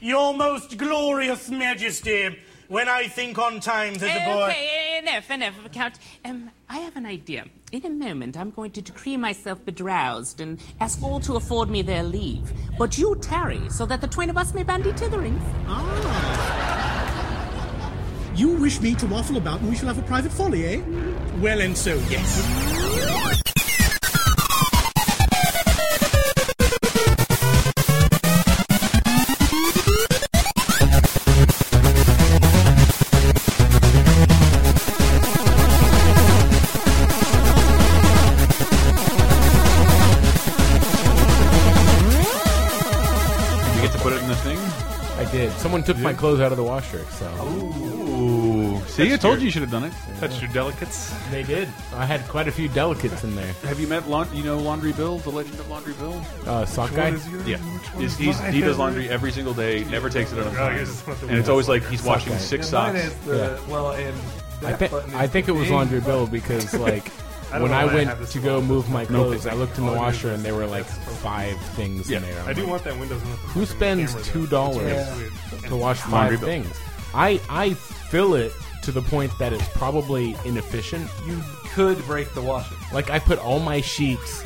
Your most glorious majesty, when I think on times as a boy. Okay, enough, enough, Count. Um, I have an idea. In a moment, I'm going to decree myself bedroused and ask all to afford me their leave. But you tarry, so that the twain of us may bandy titherings. Ah. You wish me to waffle about and we shall have a private folly, eh? Well and so, yes. You get to put it in the thing. I did. Someone took my clothes out of the washer, so Ooh, see, I told you you should have done it. Touched your delicates. they did. I had quite a few delicates in there. Have you met Laun- you know Laundry Bill, the legend of Laundry Bill? Uh, sock guy. Yeah, is he's, he does laundry every single day, never takes it out of Oh, I time, guess it's not the and it's one. always like he's washing guy. six Yeah, mine socks. is the- Well, and I that think button is I think it was big. Laundry Bill because like don't when know I why I have went this to go long. move my clothes, I looked in the all it is washer is and there were like five things in Yeah. there. I'm I do like, want that Windows. Who spends two dollars to wash Laundry five bill. things? I I fill it to the point that it's probably inefficient. You could break the washer. Like I put all my sheets,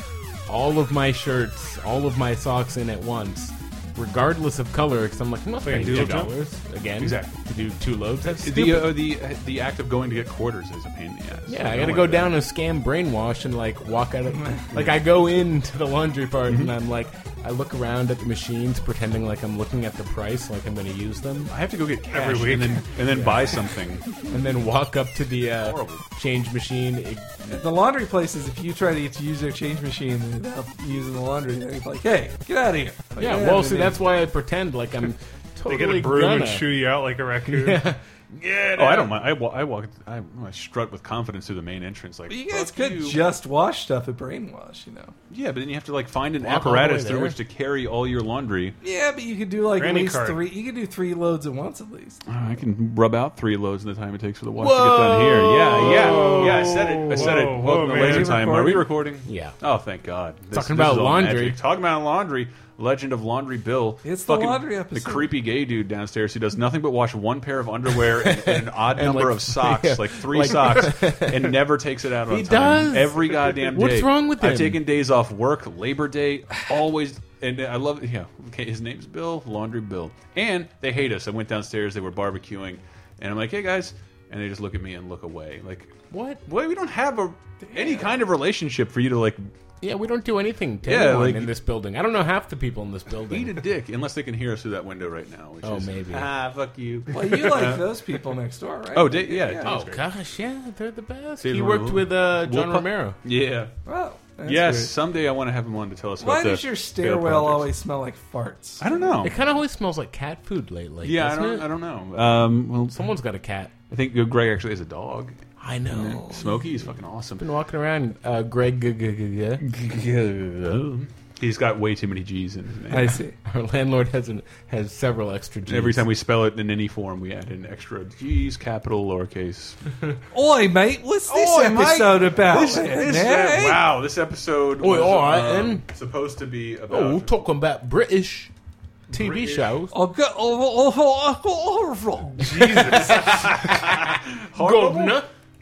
all of my shirts, all of my socks in at once, regardless of color, because I'm like I'm not paying do two a job. dollars again Exactly. to do two loads. That's The stupid. uh, the the act of going to get quarters is a pain in the ass. Yeah, I don't gotta like go that. down and scam brainwash and like walk out of like I go into the laundry part and I'm like I look around at the machines pretending like I'm looking at the price like I'm gonna use them I have to go get cash Every week. and then and then buy something. and then walk up to the uh, Horrible. change machine. It- The laundry places, if you try to get to use their change machine without using the laundry, they're like, "Hey, get out of here!" Like, yeah, "Yeah, well, man, see man." that's why I pretend like I'm They totally get a broom gonna. and shoo you out like a raccoon. oh, I don't mind. I, wa- I walk. I, I strut with confidence through the main entrance. Like But you guys "Fuck could you." just wash stuff at Brainwash, you know. Yeah, but then you have to like find an all the way apparatus through there. which to carry all your laundry. Yeah, but you could do like Granny at least card. three. You could do three loads at once at least. Oh, I can rub out three loads in the time it takes for the watch to get down here. Yeah, yeah, yeah. I said it. I said Whoa, it. whoa, Welcome to man. laser Are we time. Are we recording? Yeah. Oh, thank God. This- Talking this about is all laundry. magic. Talking about laundry. Legend of Laundry Bill. It's the laundry episode. The creepy gay dude downstairs who does nothing but wash one pair of underwear and, and an odd number like- of socks, yeah. like three Like- socks, and never takes it out on He time. does. Every goddamn day. What's wrong with I've him? taken days off work, Labor Day, always. And I love, yeah. Okay, his name's Bill, Laundry Bill, and they hate us. I went downstairs; they were barbecuing, and I'm like, "Hey guys," and they just look at me and look away, like, What? Well, we don't have a any kind of relationship for you to like Yeah, we don't do anything to Yeah, anyone like- in this building. I don't know half the people in this eat building. a dick unless they can hear us through that window right now. Which Oh, is, maybe. Ah, fuck you. Well, you like those people next door, right? Oh, da- yeah, yeah. Oh gosh, yeah, they're the best. See, he the- worked with uh, John Wolpa- Romero. yeah. Wow. oh, that's yes, weird. someday I want to have him on to tell us. Why about the does your Bear stairwell Projects. always smell like farts? I don't know. It kind of always smells like cat food lately. Yeah, I doesn't don't. it? I don't know. Um, well, Someone's got a cat. I think Greg actually has a dog. I know. Smokey is fucking awesome. been walking around uh, Greg G- G- G- G. He's got way too many G's in his name. I see. Our landlord has an, has several extra G's. Every time we spell it in any form, we add an extra G's, capital, lowercase. Oi, mate, what's this Oi, mate. episode about? This, man, this, eh? wow, this episode Oi, was all right, um, then. supposed to be about. oh, we're talking about British TV British. shows. I've got oh, oh, oh, oh, oh, oh, Horrible?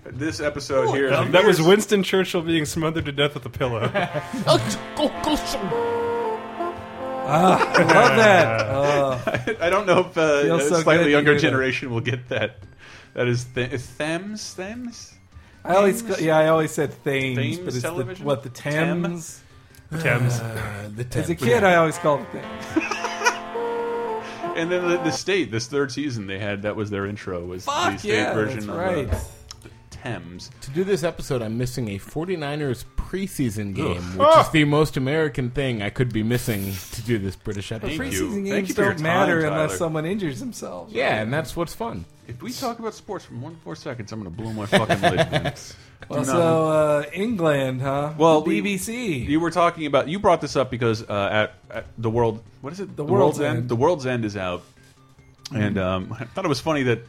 This episode here. is- That was Winston Churchill being smothered to death with a pillow. oh. Love that. Uh, I don't know if uh, Feels a so good slightly to younger hear that. generation will get that. That is th- Thames? Thames? I always, go, yeah, I always said Thames, Thames but it's the, television? what the Tam? Thames. Thames. Uh, the As a kid, I always called it Thames. And then the, the state, this third season, they had that was their intro was the Fuck state yeah, version that's of right. uh, Thames. to do this episode, I'm missing a 49ers preseason game, Ugh. Ah! which is the most American thing I could be missing to do this British episode. Thank you. Preseason Thank games you for your don't matter time, unless Tyler. someone injures themselves. Yeah, and that's what's fun. If we talk about sports for more than four seconds, I'm going to blow my fucking lid. man. Well, Do so uh, England, huh? Well, The we- BBC. You were talking about you brought this up because uh, at, at the world what is it the, World's End. Mm-hmm. the world's end is out and um, I thought it was funny that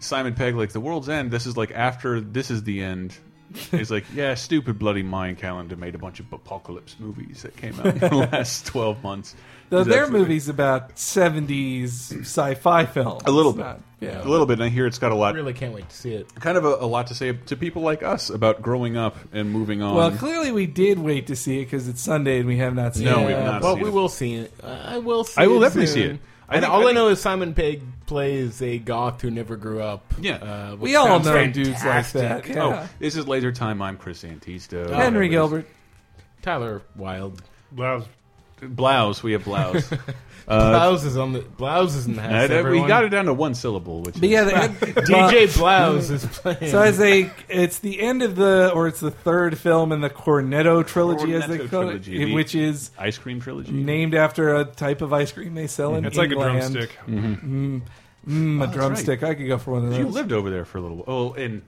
Simon Pegg like the world's end this is like after this is the end He's like, yeah, stupid bloody Mayan calendar made a bunch of apocalypse movies that came out in the last 12 months. Though He's their absolutely- movies about seventies sci-fi films. A little bit. Not- yeah. A little bit. And I hear it's got a lot, really can't wait to see it. kind of a, a lot to say to people like us about growing up and moving on. Well, clearly we did wait to see it because it's Sunday and we have not seen No, it. we've not but seen we it. will see it. I will. See I will it definitely soon. see it. I and think- all I I, think- know is Simon Pegg plays a goth who never grew up. Yeah. uh, which We all know sounds dudes like that. Yeah. Oh, this is Laser Time. I'm Chris Antista. Henry Gilbert. Tyler Wilde. Wow. Blouse. We have blouse. Uh, Blouse is on the Blouse is in the house. And, uh, we everyone. got it down to one syllable, which But is yeah, the, DJ Blouse is playing. So as they, it's the end of the, or it's the third film in the Cornetto trilogy, as they Cornetto call trilogy, the- it, which is Ice Cream Trilogy. named after a type of ice cream they sell in It's like a England. drumstick. Mm, a that's drumstick. I could go for one of those. You lived over there for a little. Oh, in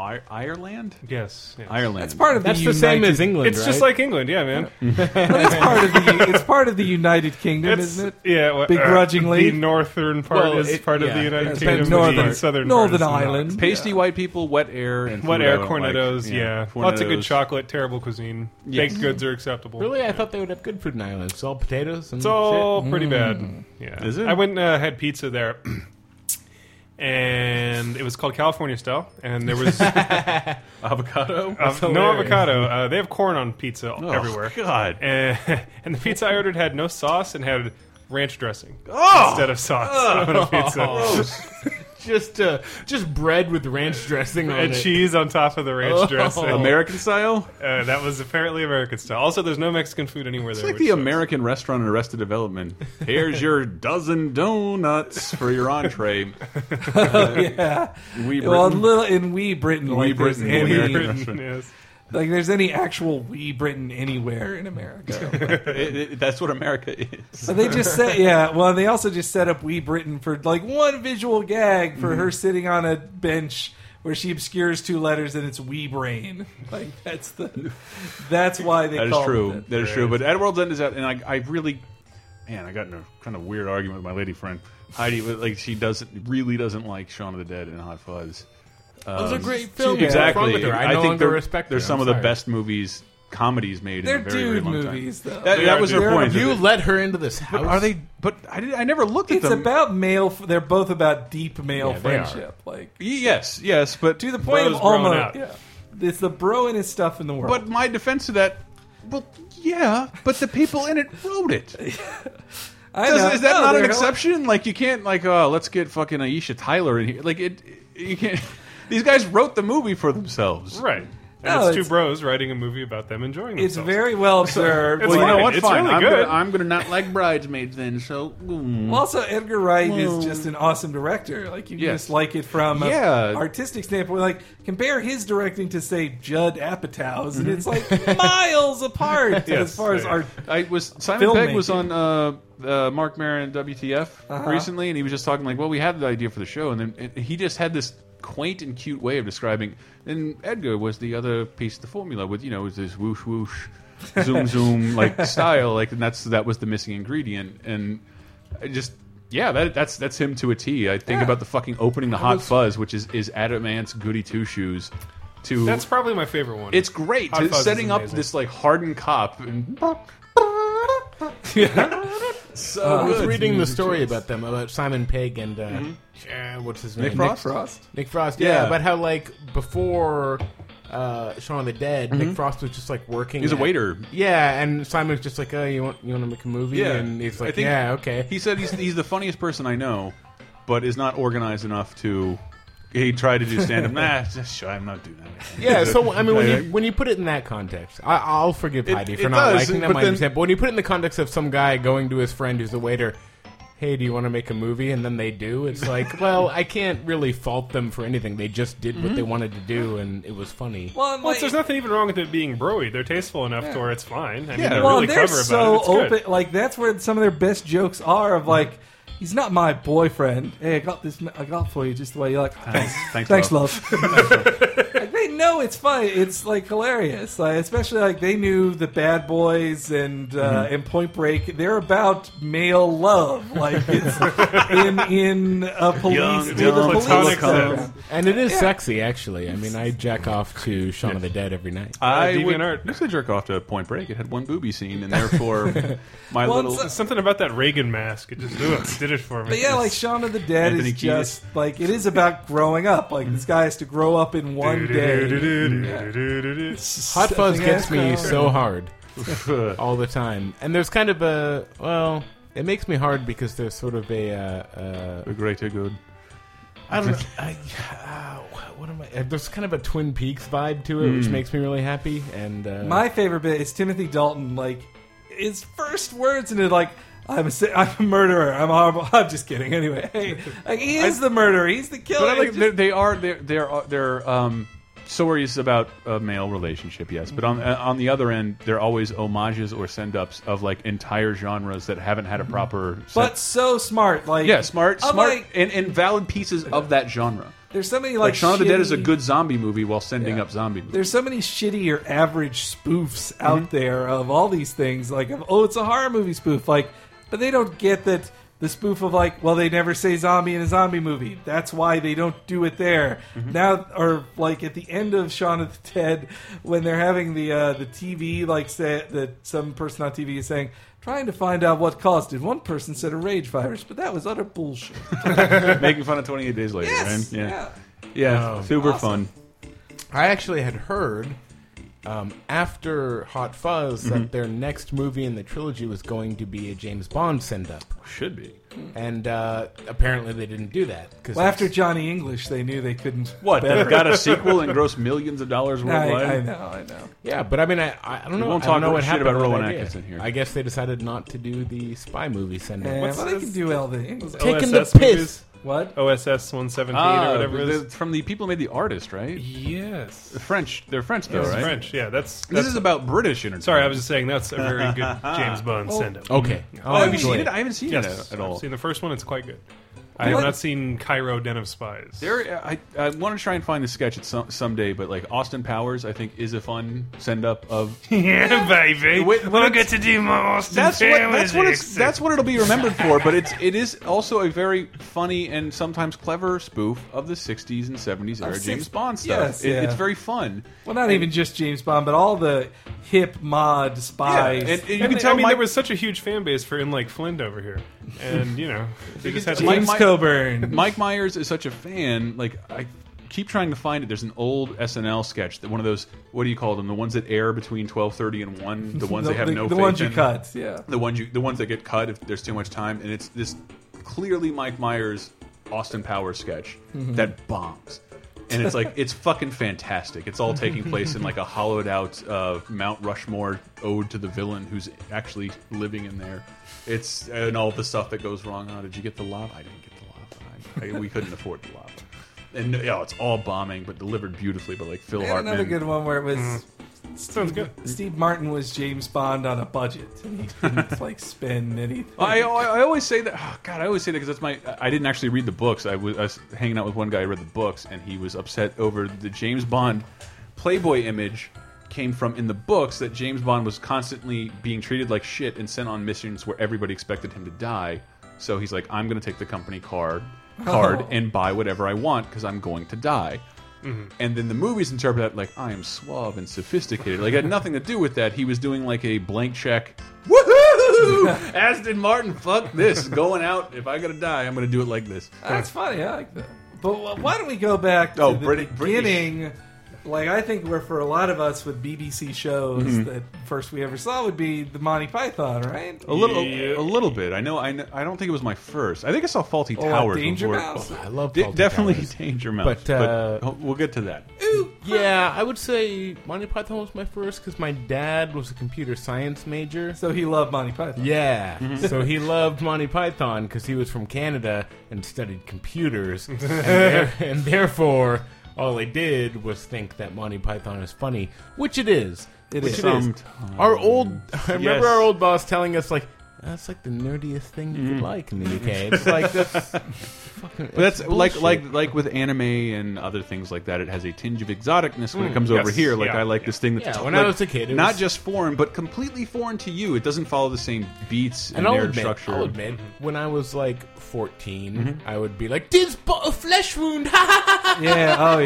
I- Ireland. Yes. yes. Ireland. It's part of That's the, the same United- as England. It's just right? like England, yeah, man. But it's part of the. It's part of the United Kingdom, It's, isn't it? Yeah, well, uh, Begrudgingly. the northern part Well, is it- part yeah, of the United it's Kingdom. been northern- the southern Northern part is not. Ireland. pasty white people, wet air, and What food I air don't like. cornetos? yeah, lots of good Cornettos. chocolate. Terrible cuisine. Yes. Baked goods are acceptable. Really, I thought they would have good food in Ireland. It's all potatoes and It's all pretty Mm. bad. Yeah. Is it? I went and uh, had pizza there. And it was called California style, and there was uh, Avocado. no hilarious. avocado. Uh, they have corn on pizza Oh, everywhere. God. And, and the pizza I ordered had no sauce and had ranch dressing Oh! instead of sauce on a pizza, shit. just uh, just bread with ranch dressing on and it. cheese on top of the ranch Oh. dressing. American style? Uh, that was apparently American style. Also, there's no Mexican food anywhere It's there. like which the sucks. American restaurant in Arrested Development. Here's your dozen donuts for your entree. Oh, Yeah. We Well, in Britain. little in Wee Britain, like Britain, there's any, American Britain, restaurant. yes. like there's any actual Wee Britain anywhere in America. It- it- that's what America is. But they just set, yeah. Well, they also just set up Wee Britain for like one visual gag for Mhm. her sitting on a bench where she obscures two letters and it's Wee Brain. Like that's the, that's why they. That is called true. It. That is true. But At World's End is out, and I, I really, man, I got in a kind of weird argument with my lady friend Heidi. but, Like she doesn't really doesn't like Shaun of the Dead and Hot Fuzz. Those Um, are great films. Exactly. What's wrong with her? I, no longer they're, respect. her. they're I'm some of the sorry. best movies, comedies made They're in a very, very dude long time. movies, though. That, They that are was dude her point. is You that- let her into this house. are they? But I, did, I never looked at It's them. about male. They're both about deep male Yeah, they are. friendship. Like yes, yes, but to the point Bro's of brown almost. out. Yeah, it's the bro and his stuff in the world. But my defense of that, well, yeah, but the people in it wrote it. I Does- know. is that No, Oh, not an they're- exception? Like you can't like oh let's get fucking Aisha Tyler in here. Like it, you can't. These guys wrote the movie for themselves. Right. And No, it's, it's- two bros writing a movie about them enjoying It's themselves. very well observed. It's Well, Like, you know what? It's Fine. really I'm, good. Gonna, I'm gonna not like bridesmaids then. So mm. Also, Edgar Wright is just an awesome director. Like you can Yes. just like it from an Yeah. artistic standpoint. Like compare his directing to say Judd Apatow's, Mm-hmm. and it's like miles apart as far as yeah. art. I was Simon Pegg was on Filmmaking. uh, uh, Mark Maron WTF recently, and he was just talking like, "Well, we had the idea for the show," and then and he just had this quaint and cute way of describing. And Edgar was the other piece of the formula with you know it was this whoosh whoosh, zoom zoom like style, like and that's that was the missing ingredient, and I just. Yeah, that, that's that's him to a T. I think about the fucking opening the Hot Fuzz, which is is Adam Ant's Goody Two Shoes. To That's probably my favorite one. it's great. Hot It's Fuzz is setting up amazing. this like hardened cop and so I was good. reading the story about them about Simon Pegg and uh, uh, what's his name? Nick Frost? Frost. Nick Frost. Yeah, Mm-hmm. Yeah. about how like before uh, Shaun of the Dead, Mm-hmm. Nick Frost was just like working. He's a at- waiter. Yeah, and Simon's just like, oh, you want you want to make a movie? Yeah, and he's I like, think yeah, okay. He said he's he's the funniest person I know, but is not organized enough to. He tried to do stand up. nah, just, sure, I'm not doing that. yeah, so I mean, when Yeah, you when you put it in that context, I, I'll forgive It- Heidi it for not does, liking that but might then- be sad, But when you put it in the context of some guy going to his friend who's a waiter, hey, do you want to make a movie? And then they do. It's like, well, I can't really fault them for anything. They just did what they Mm-hmm. wanted to do, and it was funny. Well, and, Well, like, there's nothing even wrong with it being broy. They're tasteful enough to where it's fine. I mean, Yeah. they're well, really they're clever so about it. It's open. good. Like that's where some of their best jokes are. Of like, he's not my boyfriend. Hey, I got this. I got for you just the way you like. Thanks, thanks, Thanks, love. love. like, they no, it's fun. It's like hilarious. Like, especially like they knew the Bad Boys and uh, Mm-hmm. and Point Break. They're about male love, like it's in in a police Young, with young, a police platonic background. love. And it is sexy, actually. I mean, I jack off to Shaun of the Dead every night. I Uh, would DeviantArt. used to jerk off to Point Break. It had one booby scene, and therefore my Well, little it's- Something about that Reagan mask. It just ugh, did it for me. But yeah, like Shaun of the Dead Anthony is Kiedis. just like it is about growing up. Like this guy has to grow up in one day. Do-do-do-do-do-do-do-do-do. Hot Fuzz Something gets me else, so hard all the time. And there's kind of a, well, it makes me hard because there's sort of a, uh, uh, the greater good. I don't know. I, uh, what am I? There's kind of a Twin Peaks vibe to it, Hmm. which makes me really happy. And uh, My favorite bit is Timothy Dalton. Like his first words in it, like I'm a, si- I'm a murderer. I'm horrible. I'm just kidding. Anyway, like he is the murderer. He's the killer. But I like It's they just- they are they're they're they're um, stories about a male relationship, yes. But on uh, on the other end, they're always homages or send ups of like entire genres that haven't had a proper. Mm-hmm. but so smart. Like yeah, smart, I'm smart, like- and, and valid pieces of that genre. there's so many Like, like, Shaun of the Dead is a shitty- good zombie movie while sending Yeah. up zombie movies. There's so many shitty or average spoofs out Mm-hmm. there of all these things. Like, of, oh, it's a horror movie spoof. Like, but they don't get that the spoof of like, well, they never say zombie in a zombie movie. That's why they don't do it there Mm-hmm. now. Or like at the end of Shaun of the Dead, when they're having the uh, the TV like say that some person on TV is saying. Trying to find out what caused it. One person said a rage virus, but that was utter bullshit. Making fun of 28 Days Later, Yes, right? yeah. Yeah, yeah, Oh, super fun. I actually had heard um, after Hot Fuzz Mm-hmm. that their next movie in the trilogy was going to be a James Bond send up, Should be. and uh, apparently they didn't do that. Cause Well, after Johnny English, they knew they couldn't. What? better. They've got a sequel and grossed millions of dollars I, worldwide. I know, I know. yeah, but I mean, I, I I don't know. won't I don't talk know what shit happened about to that Rowan idea. Atkinson here. I guess they decided not to do the spy movie send up. Yeah, What's Eh, well, they this- can do all the English. Taking OSS the piss. What? Oh, OSS 117 Ah, or whatever it they're is. from the people who made the artist, right? Yes. The French. They're French, though, It's right? French. Yeah, that's. This that's is about British entertainment. sorry, I was Mm-hmm. just saying that's a very good James Bond send up. Okay. I'll Oh, have you enjoy seen it? I haven't seen Yes, it at all. I've seen the first one. It's quite good. I have What? not seen Cairo Den of Spies. There, I, I want to try and find the sketch at some someday, but like Austin Powers, I think is a fun send up of. yeah, baby. Wait, we'll get to do my Austin That's what that's what it's, Powers that's what it'll be remembered for. But it's it is also a very funny and sometimes clever spoof of the '60s and '70s era six- James Bond stuff. yes, It- It's yeah. very fun. Well, not even just James Bond, but all the hip mod spies. and, and you And can tell I mean, Mike- there was such a huge fan base for In Like Flint over here, and you know, they just had Mike- James Mike- Coburn. Mike Myers is such a fan. Like I keep trying to find it. There's an old SNL sketch that one of those what do you call them? The ones that air between twelve thirty and one. The ones the, that have the, no. the faith ones you in. cut. Yeah. The ones you the ones that get cut if there's too much time. And it's this clearly Mike Myers Austin Powers sketch that bombs. And it's like it's fucking fantastic. It's all taking place in like a hollowed out uh, Mount Rushmore ode to the villain who's actually living in there. It's and all the stuff that goes wrong. Oh, did you get the lava? I didn't get the lava. I, I- we couldn't afford the lava. And you know, it's all bombing, but delivered beautifully. But like Phil They had Hartman, Mm. another good one where it was Sounds good. Steve Martin was James Bond on a budget, and he couldn't like spend anything. I, I I always say that. Oh God, I always say that because that's my. I didn't actually read the books. I was, I was hanging out with one guy who read the books, and he was upset over the James Bond Playboy image came from in the books that James Bond was constantly being treated like shit and sent on missions where everybody expected him to die. So he's like, I'm going to take the company card card Oh. and buy whatever I want because I'm going to die. And then the movies interpret that like I am suave and sophisticated. Like it had nothing to do with that. He was doing like a blank check. Woohoo! Aston Martin, fuck this. Going out. If I gotta die, I'm gonna do it like this. That's funny. I like that. But wh- why don't we go back to Oh, the Briti- British. beginning? Like I think where for a lot of us with BBC shows Mm-hmm. that first we ever saw would be the Monty Python, right? A little, a little bit. I know. I, kn- I don't think it was my first. I think I saw Faulty Oh, Or Towers. Danger before- Oh, Mouse. I love De- Faulty definitely Towers. Danger Mouse. But, uh, oh, we'll get to that. Yeah, I would say Monty Python was my first because my dad was a computer science major. So he loved Monty Python. Yeah, so he loved Monty Python because he was from Canada and studied computers, and, there- and therefore all he did was think that Monty Python is funny, which it is. It is. Um, which Sometimes. Our Um, old, I remember Yes. our old boss telling us like. That's like the nerdiest thing you could like in the UK. It's like that's fucking But that's like like like with anime and other things like that. It has a tinge of exoticness when it comes over yes, here. Like yeah, I like this thing that's Mm, Yeah, when I like, was a kid, it not was- just foreign, but completely foreign to you. It doesn't follow the same beats and, And I'll narrative admit, structure. I'll admit, when I was like 14, I would be like, "This bo- a flesh wound!" ha, ha, ha, ha, Yeah. Oh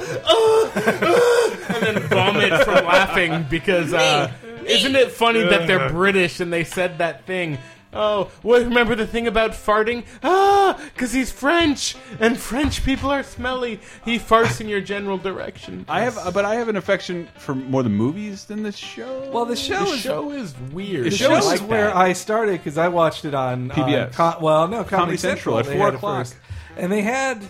yeah. and then vomit from laughing because uh, isn't it funny that they're British and they said that thing? Oh, well, remember the thing about farting? Ah, because he's French and French people are smelly. He farts in your general direction. I have, uh, but I have an affection for more the movies than the show. well, the show the is show is weird. The The show show is is like where that. I started because I watched it on PBS. on Co- well, no, Comedy, Comedy Central Central, at they 4 had it o'clock. first. and they had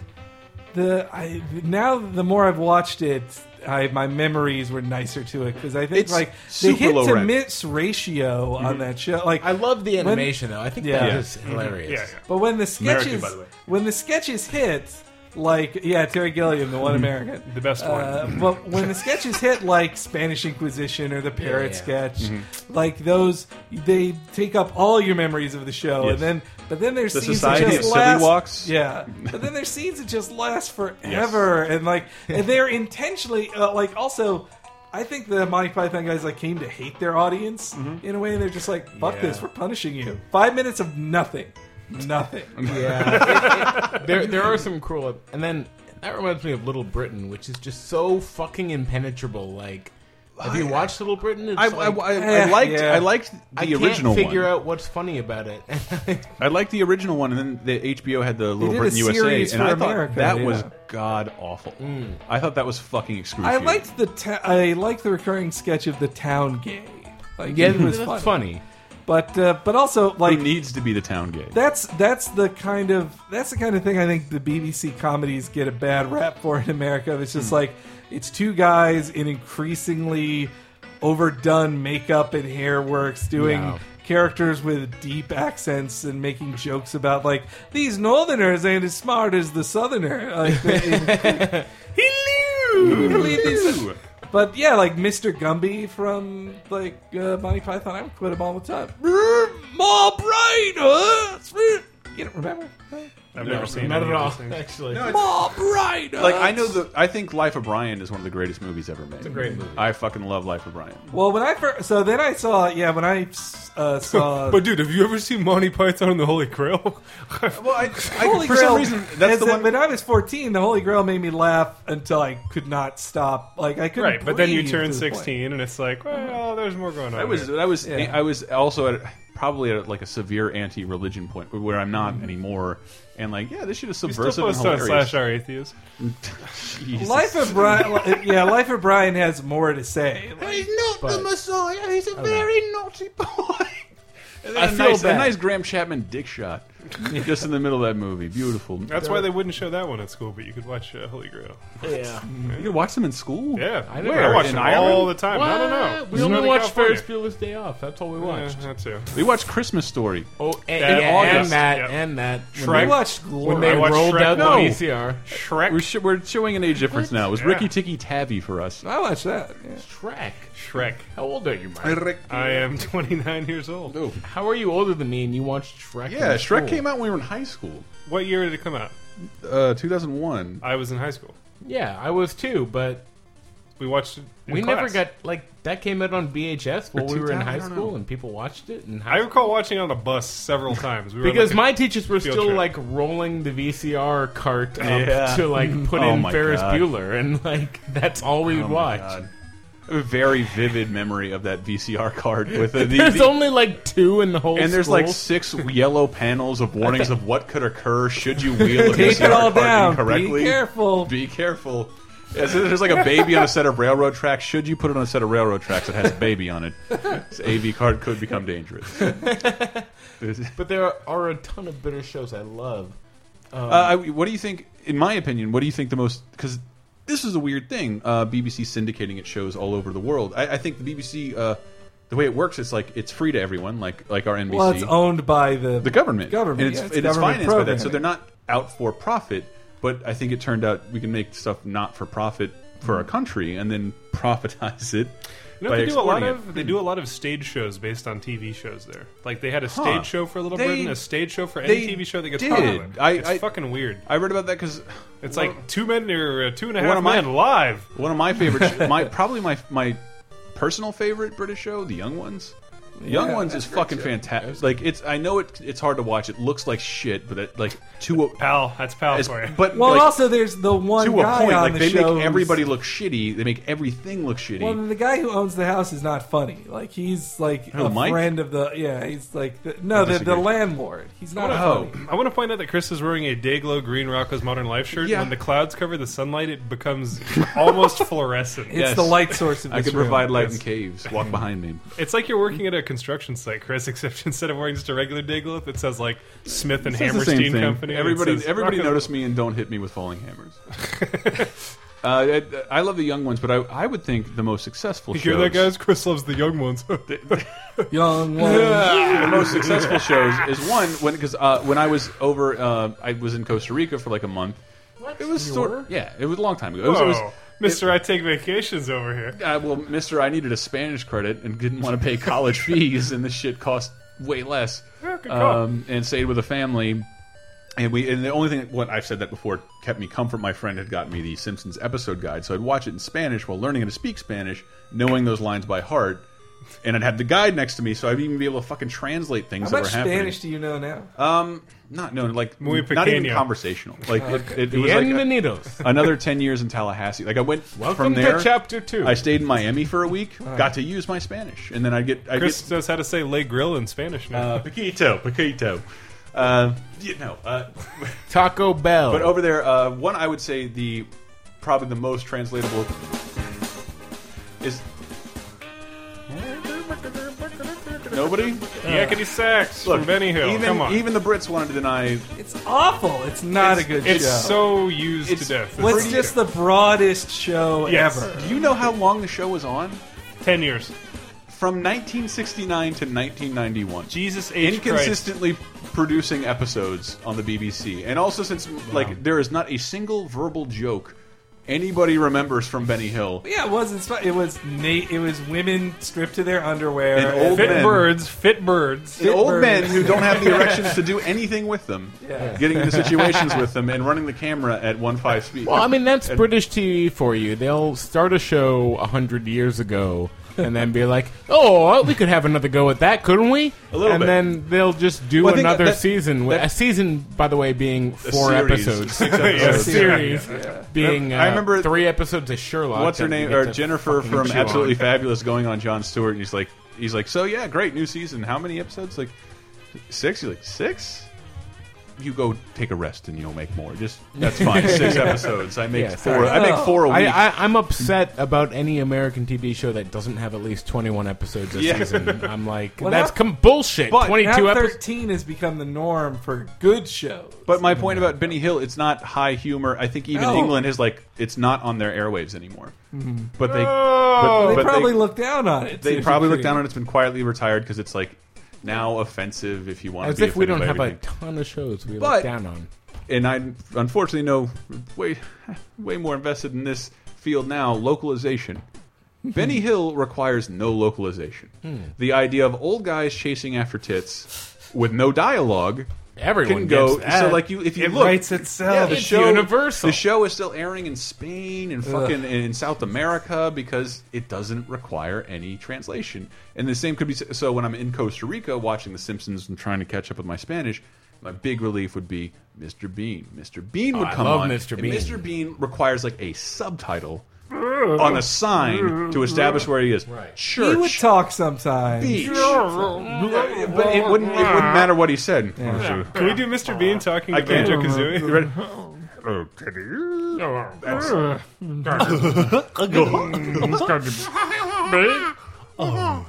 the. I now the more I've watched it, I my memories were nicer to it because I think It's like the super hit low to rent. miss ratio on that show. Like I love the When- animation though. I think Yeah. that is hilarious. Yeah, yeah. but when the sketches, American, by the way. when the sketches hit, like yeah, Terry Gilliam, the one American, The best Uh, but when the sketches hit, like Spanish Inquisition or the Parrot Yeah, sketch, Mm-hmm. like those, they take up all your memories of the show, Yes. and then but then there's The scenes that Society just of Silly last, Walks. yeah. But then there's scenes that just last forever, and like and they're intentionally uh, like also. I think the Monty Python guys like came to hate their audience Mm-hmm. in a way. They're just like, "Fuck Yeah. this, we're punishing you." Five minutes of nothing, nothing. Yeah. It- it- there, there are some cruel. And then that reminds me of Little Britain, which is just so fucking impenetrable. Like, have you watched Little Britain? It's I, I, like, I, I eh, liked yeah. I liked the I can't original figure one. out what's funny about it. I liked the original one, and then the HBO had the Little did a Britain USA, series and for I thought America, that yeah. Mm. was god awful. I thought that was fucking I excruciating. liked the ta- I liked the recurring sketch of the town gay. Like yeah, it was that's funny. funny. but uh, but also Who like needs to be the town gay? that's that's the kind of that's the kind of thing I think the BBC comedies get a bad rap for in America. It's Hmm. just like it's two guys in increasingly overdone makeup and hair works doing Yeah. characters with deep accents and making jokes about like these northerners ain't as smart as the southerner. Like, they- Hello! But yeah, like Mr. Gumby from like uh, Monty Python, I would quit him all the time. More brain, huh? You don't remember? I've never seen Not any at of all, those things. actually. More brain, like I know the I think Life of Brian is one of the greatest movies ever made. It's a great movie. I fucking love Life of Brian. Well, when I first, so then I saw, yeah, when I uh, saw. But dude, have you ever seen Monty Python and the Holy Grail? Well, I, Holy for Grail. some reason that's as the a- one. When I was fourteen, the Holy Grail made me laugh until I could not stop. Like I couldn't. right, but then you breathe turn to the point. sixteen, and it's like, well, there's more going on. I was here. I was Yeah. I was also at probably at like a severe anti-religion point where I'm not anymore, and like yeah, this shit is You subversive still post and on hilarious. slash our atheist. Jesus. Life of Brian, yeah, Life of Brian has more to say. He's not the Messiah. He's a very naughty boy. And then I a feel nice, a bad. nice Graham Chapman dick shot, just in the middle of that movie. Beautiful. That's why they wouldn't show that one at school, but you could watch uh, Holy Grail. Yeah. you could watch them in school. Yeah, I, never- I watched in them Ireland? all the time. I don't know. We only watched Ferris Bueller's Day Off. That's all we watched. Yeah, that too. we watched Christmas Story. Oh, and, That yeah, August, and that, yep. and that. We Shrek. When watched they, when Glory. they I watched rolled Shrek. E out No. the VCR. We're, Shrek. sh- we're showing an age difference now. It was Yeah. Ricky Tikki Tavi for us. I watched that. yeah. Shrek. Shrek. How old are you, Mike? I am 29 years old. Oh. How are you older than me and you watched Shrek? Yeah, in Shrek school? came out when we were in high school. What year did it come out? Uh, 2001. I was in high school. Yeah, I was too, but We watched it. in we never class. got like that came out on VHS while Or we were in two-time, I high don't school, know. and people watched it. And I recall watching it on a bus several times. We were because like my teachers were Field still trip. like rolling the VCR cart up Yeah. to like put Oh in my Ferris God. Bueller, and like that's all we would Oh my watch. God. I have a very vivid memory of that VCR card with the, the, There's the- only like two in the whole. and there's like school. six yellow panels of warnings of what could occur should you wheel a Take it VCR all cart down. incorrectly. Be careful. Be careful. Yeah, so there's like a baby on a set of railroad tracks. Should you put it on a set of railroad tracks that has a baby on it, this AV card could become dangerous. Uh, but there are a ton of bitter shows I love. Um, uh, I- what do you think? In my opinion, what do you think the most? Because this is a weird thing. Uh, BBC syndicating its shows all over the world. I, I think the BBC, uh, the way it works, it's like it's free to everyone, like like our NBC. Well, it's owned by the the government. Government. And it's, yeah, it's and it's government financed by that. So programming. they're not out for profit, but I think it turned out we can make stuff not for profit for our country and then profitize it. Hmm. You know, by they do a lot exporting it. of they do a lot of stage shows based on TV shows there. Like they had a stage Huh. show for Little They- Britain, a stage show for any they TV show that gets did. popular. I- it's I- fucking weird. I read about that because It's like two men or uh, two and a One half of my- men live. One of my favorite, sh- my probably my my personal favorite British show, The Young Ones. The Young Ones is fucking fantastic. Like it's, I know it, it's hard to watch. It looks like shit, but it, like to a, Pal, that's pal as- for you. but Well, like, also there's the one to a guy point, on like the they show. make who's- everybody look shitty. They make everything look shitty. Well, the guy who owns the house is not funny. Like he's like Who, a Mike? Oh, friend of the. Yeah, he's like the, no, the, the disagree. landlord. He's not oh, funny. I want to point out that Chris is wearing a Dayglow Green Rocko's Modern Life shirt. Yeah. When the clouds cover the sunlight, it becomes almost fluorescent. It's the light source of this I could room. provide light in caves. Walk behind me. It's like you're working at a construction site, Chris, except instead of wearing just a regular Dayglow, it says like Smith and It's the same Hammerstein thing. Company. and it Everybody, says everybody Rock and- notice me and don't hit me with falling hammers. uh, I, I love the young ones, but I, I would think the most successful. You hear that, shows- guys? Chris loves the young ones. Young one. the most successful shows is one when because uh, when I was over, uh, I was in Costa Rica for like a month. It was sort yeah, it was a long time ago. It was, it was- Whoa. Mister, I take vacations over here. uh, well, Mister, I needed a Spanish credit and didn't want to pay college fees, and this shit cost way less. good call. Um, and stayed with a family, and we and the only thing what I've said that before kept me comfort. My friend had gotten me the Simpsons episode guide, so I'd watch it in Spanish while learning how to speak Spanish, knowing those lines by heart. And I'd have the guide next to me, so I'd even be able to fucking translate things How that much were happening. Spanish do you know now? Um, not no, like Muy not even pequeño. conversational. Like it, it, it was like a- Bienvenidos. another ten years in Tallahassee. Like I went Welcome from there. to chapter two. I stayed in Miami for a week, got to use my Spanish, and then I get I Chris get knows how to say "lay grill" in Spanish now. uh, paquito, paquito. Uh, you know, uh, Taco Bell. but over there, uh, one I would say the probably the most translatable is nobody. Yakety sax Look, from Benny Hill. Even Come on, even the Brits wanted to deny It's awful. It's not a good it's show. so used It's- to death. What's It's just the broadest show Yes. ever? Do you know how long the show was on? ten years. From 1969 to 1991. Jesus H. Inconsistently producing episodes on the BBC. And also since like there is not a single verbal joke anybody remembers from Benny Hill. Yeah, it wasn't. sp- It was Nate. It was women stripped to their underwear. And old Fit men. birds, fit birds. The old Pitbird. men who don't have the erections to do anything with them, Yeah. getting into situations with them, and running the camera at one five speed. Well, I mean, that's British TV for you. They'll start a show a hundred years ago and then be like, "Oh, we could have another go at that, couldn't we?" A little and bit. then they'll just do Well, I think another that- season. With, that- a season, by the way, being A four series, episodes. six A episodes. series being uh, I remember- three episodes of Sherlock. what's her that you name get or to Jennifer fucking from chew Absolutely on. Fabulous going on John Stewart and he's like he's like so yeah great new season how many episodes like six you're like six you go take a rest and you'll make more just that's fine six episodes I make Yeah, four sorry. I make four a week I, I, I'm upset about any American TV show that doesn't have at least 21 episodes a Yeah. season. I'm like, Well, that's now- com- bullshit. But 22 now episodes. thirteen has become the norm for good shows. but my point about Benny Hill it's not high humor I think even No. England is like it's not on their airwaves anymore Mm-hmm. but they they but, but probably they, look down on it. they too. probably look down on it. it's been quietly retired because it's like now offensive if you want As to be if we offended don't by have a everything. ton of shows we But- look down on. and I unfortunately know way way more invested in this field now. Localization. Hmm. Benny Hill requires no localization. The idea of old guys chasing after tits with no dialogue Everyone can go. gets that. So like you, if you It look, writes itself. Yeah, the It's show universal. The show is still airing in Spain and fucking in South America because it doesn't require any translation. And the same could be so when I'm in Costa Rica watching The Simpsons and trying to catch up with my Spanish. My big relief would be Mr. Bean. Mr. Bean would Oh, I come love on. Mr. and Bean. Mr. Bean requires like a subtitle on a sign to establish where he is. Church. He would talk sometimes. beach. But it wouldn't. It wouldn't matter what he said. Can we do Mr. Bean talking I to can't. Banjo Kazooie? You ready? Uh,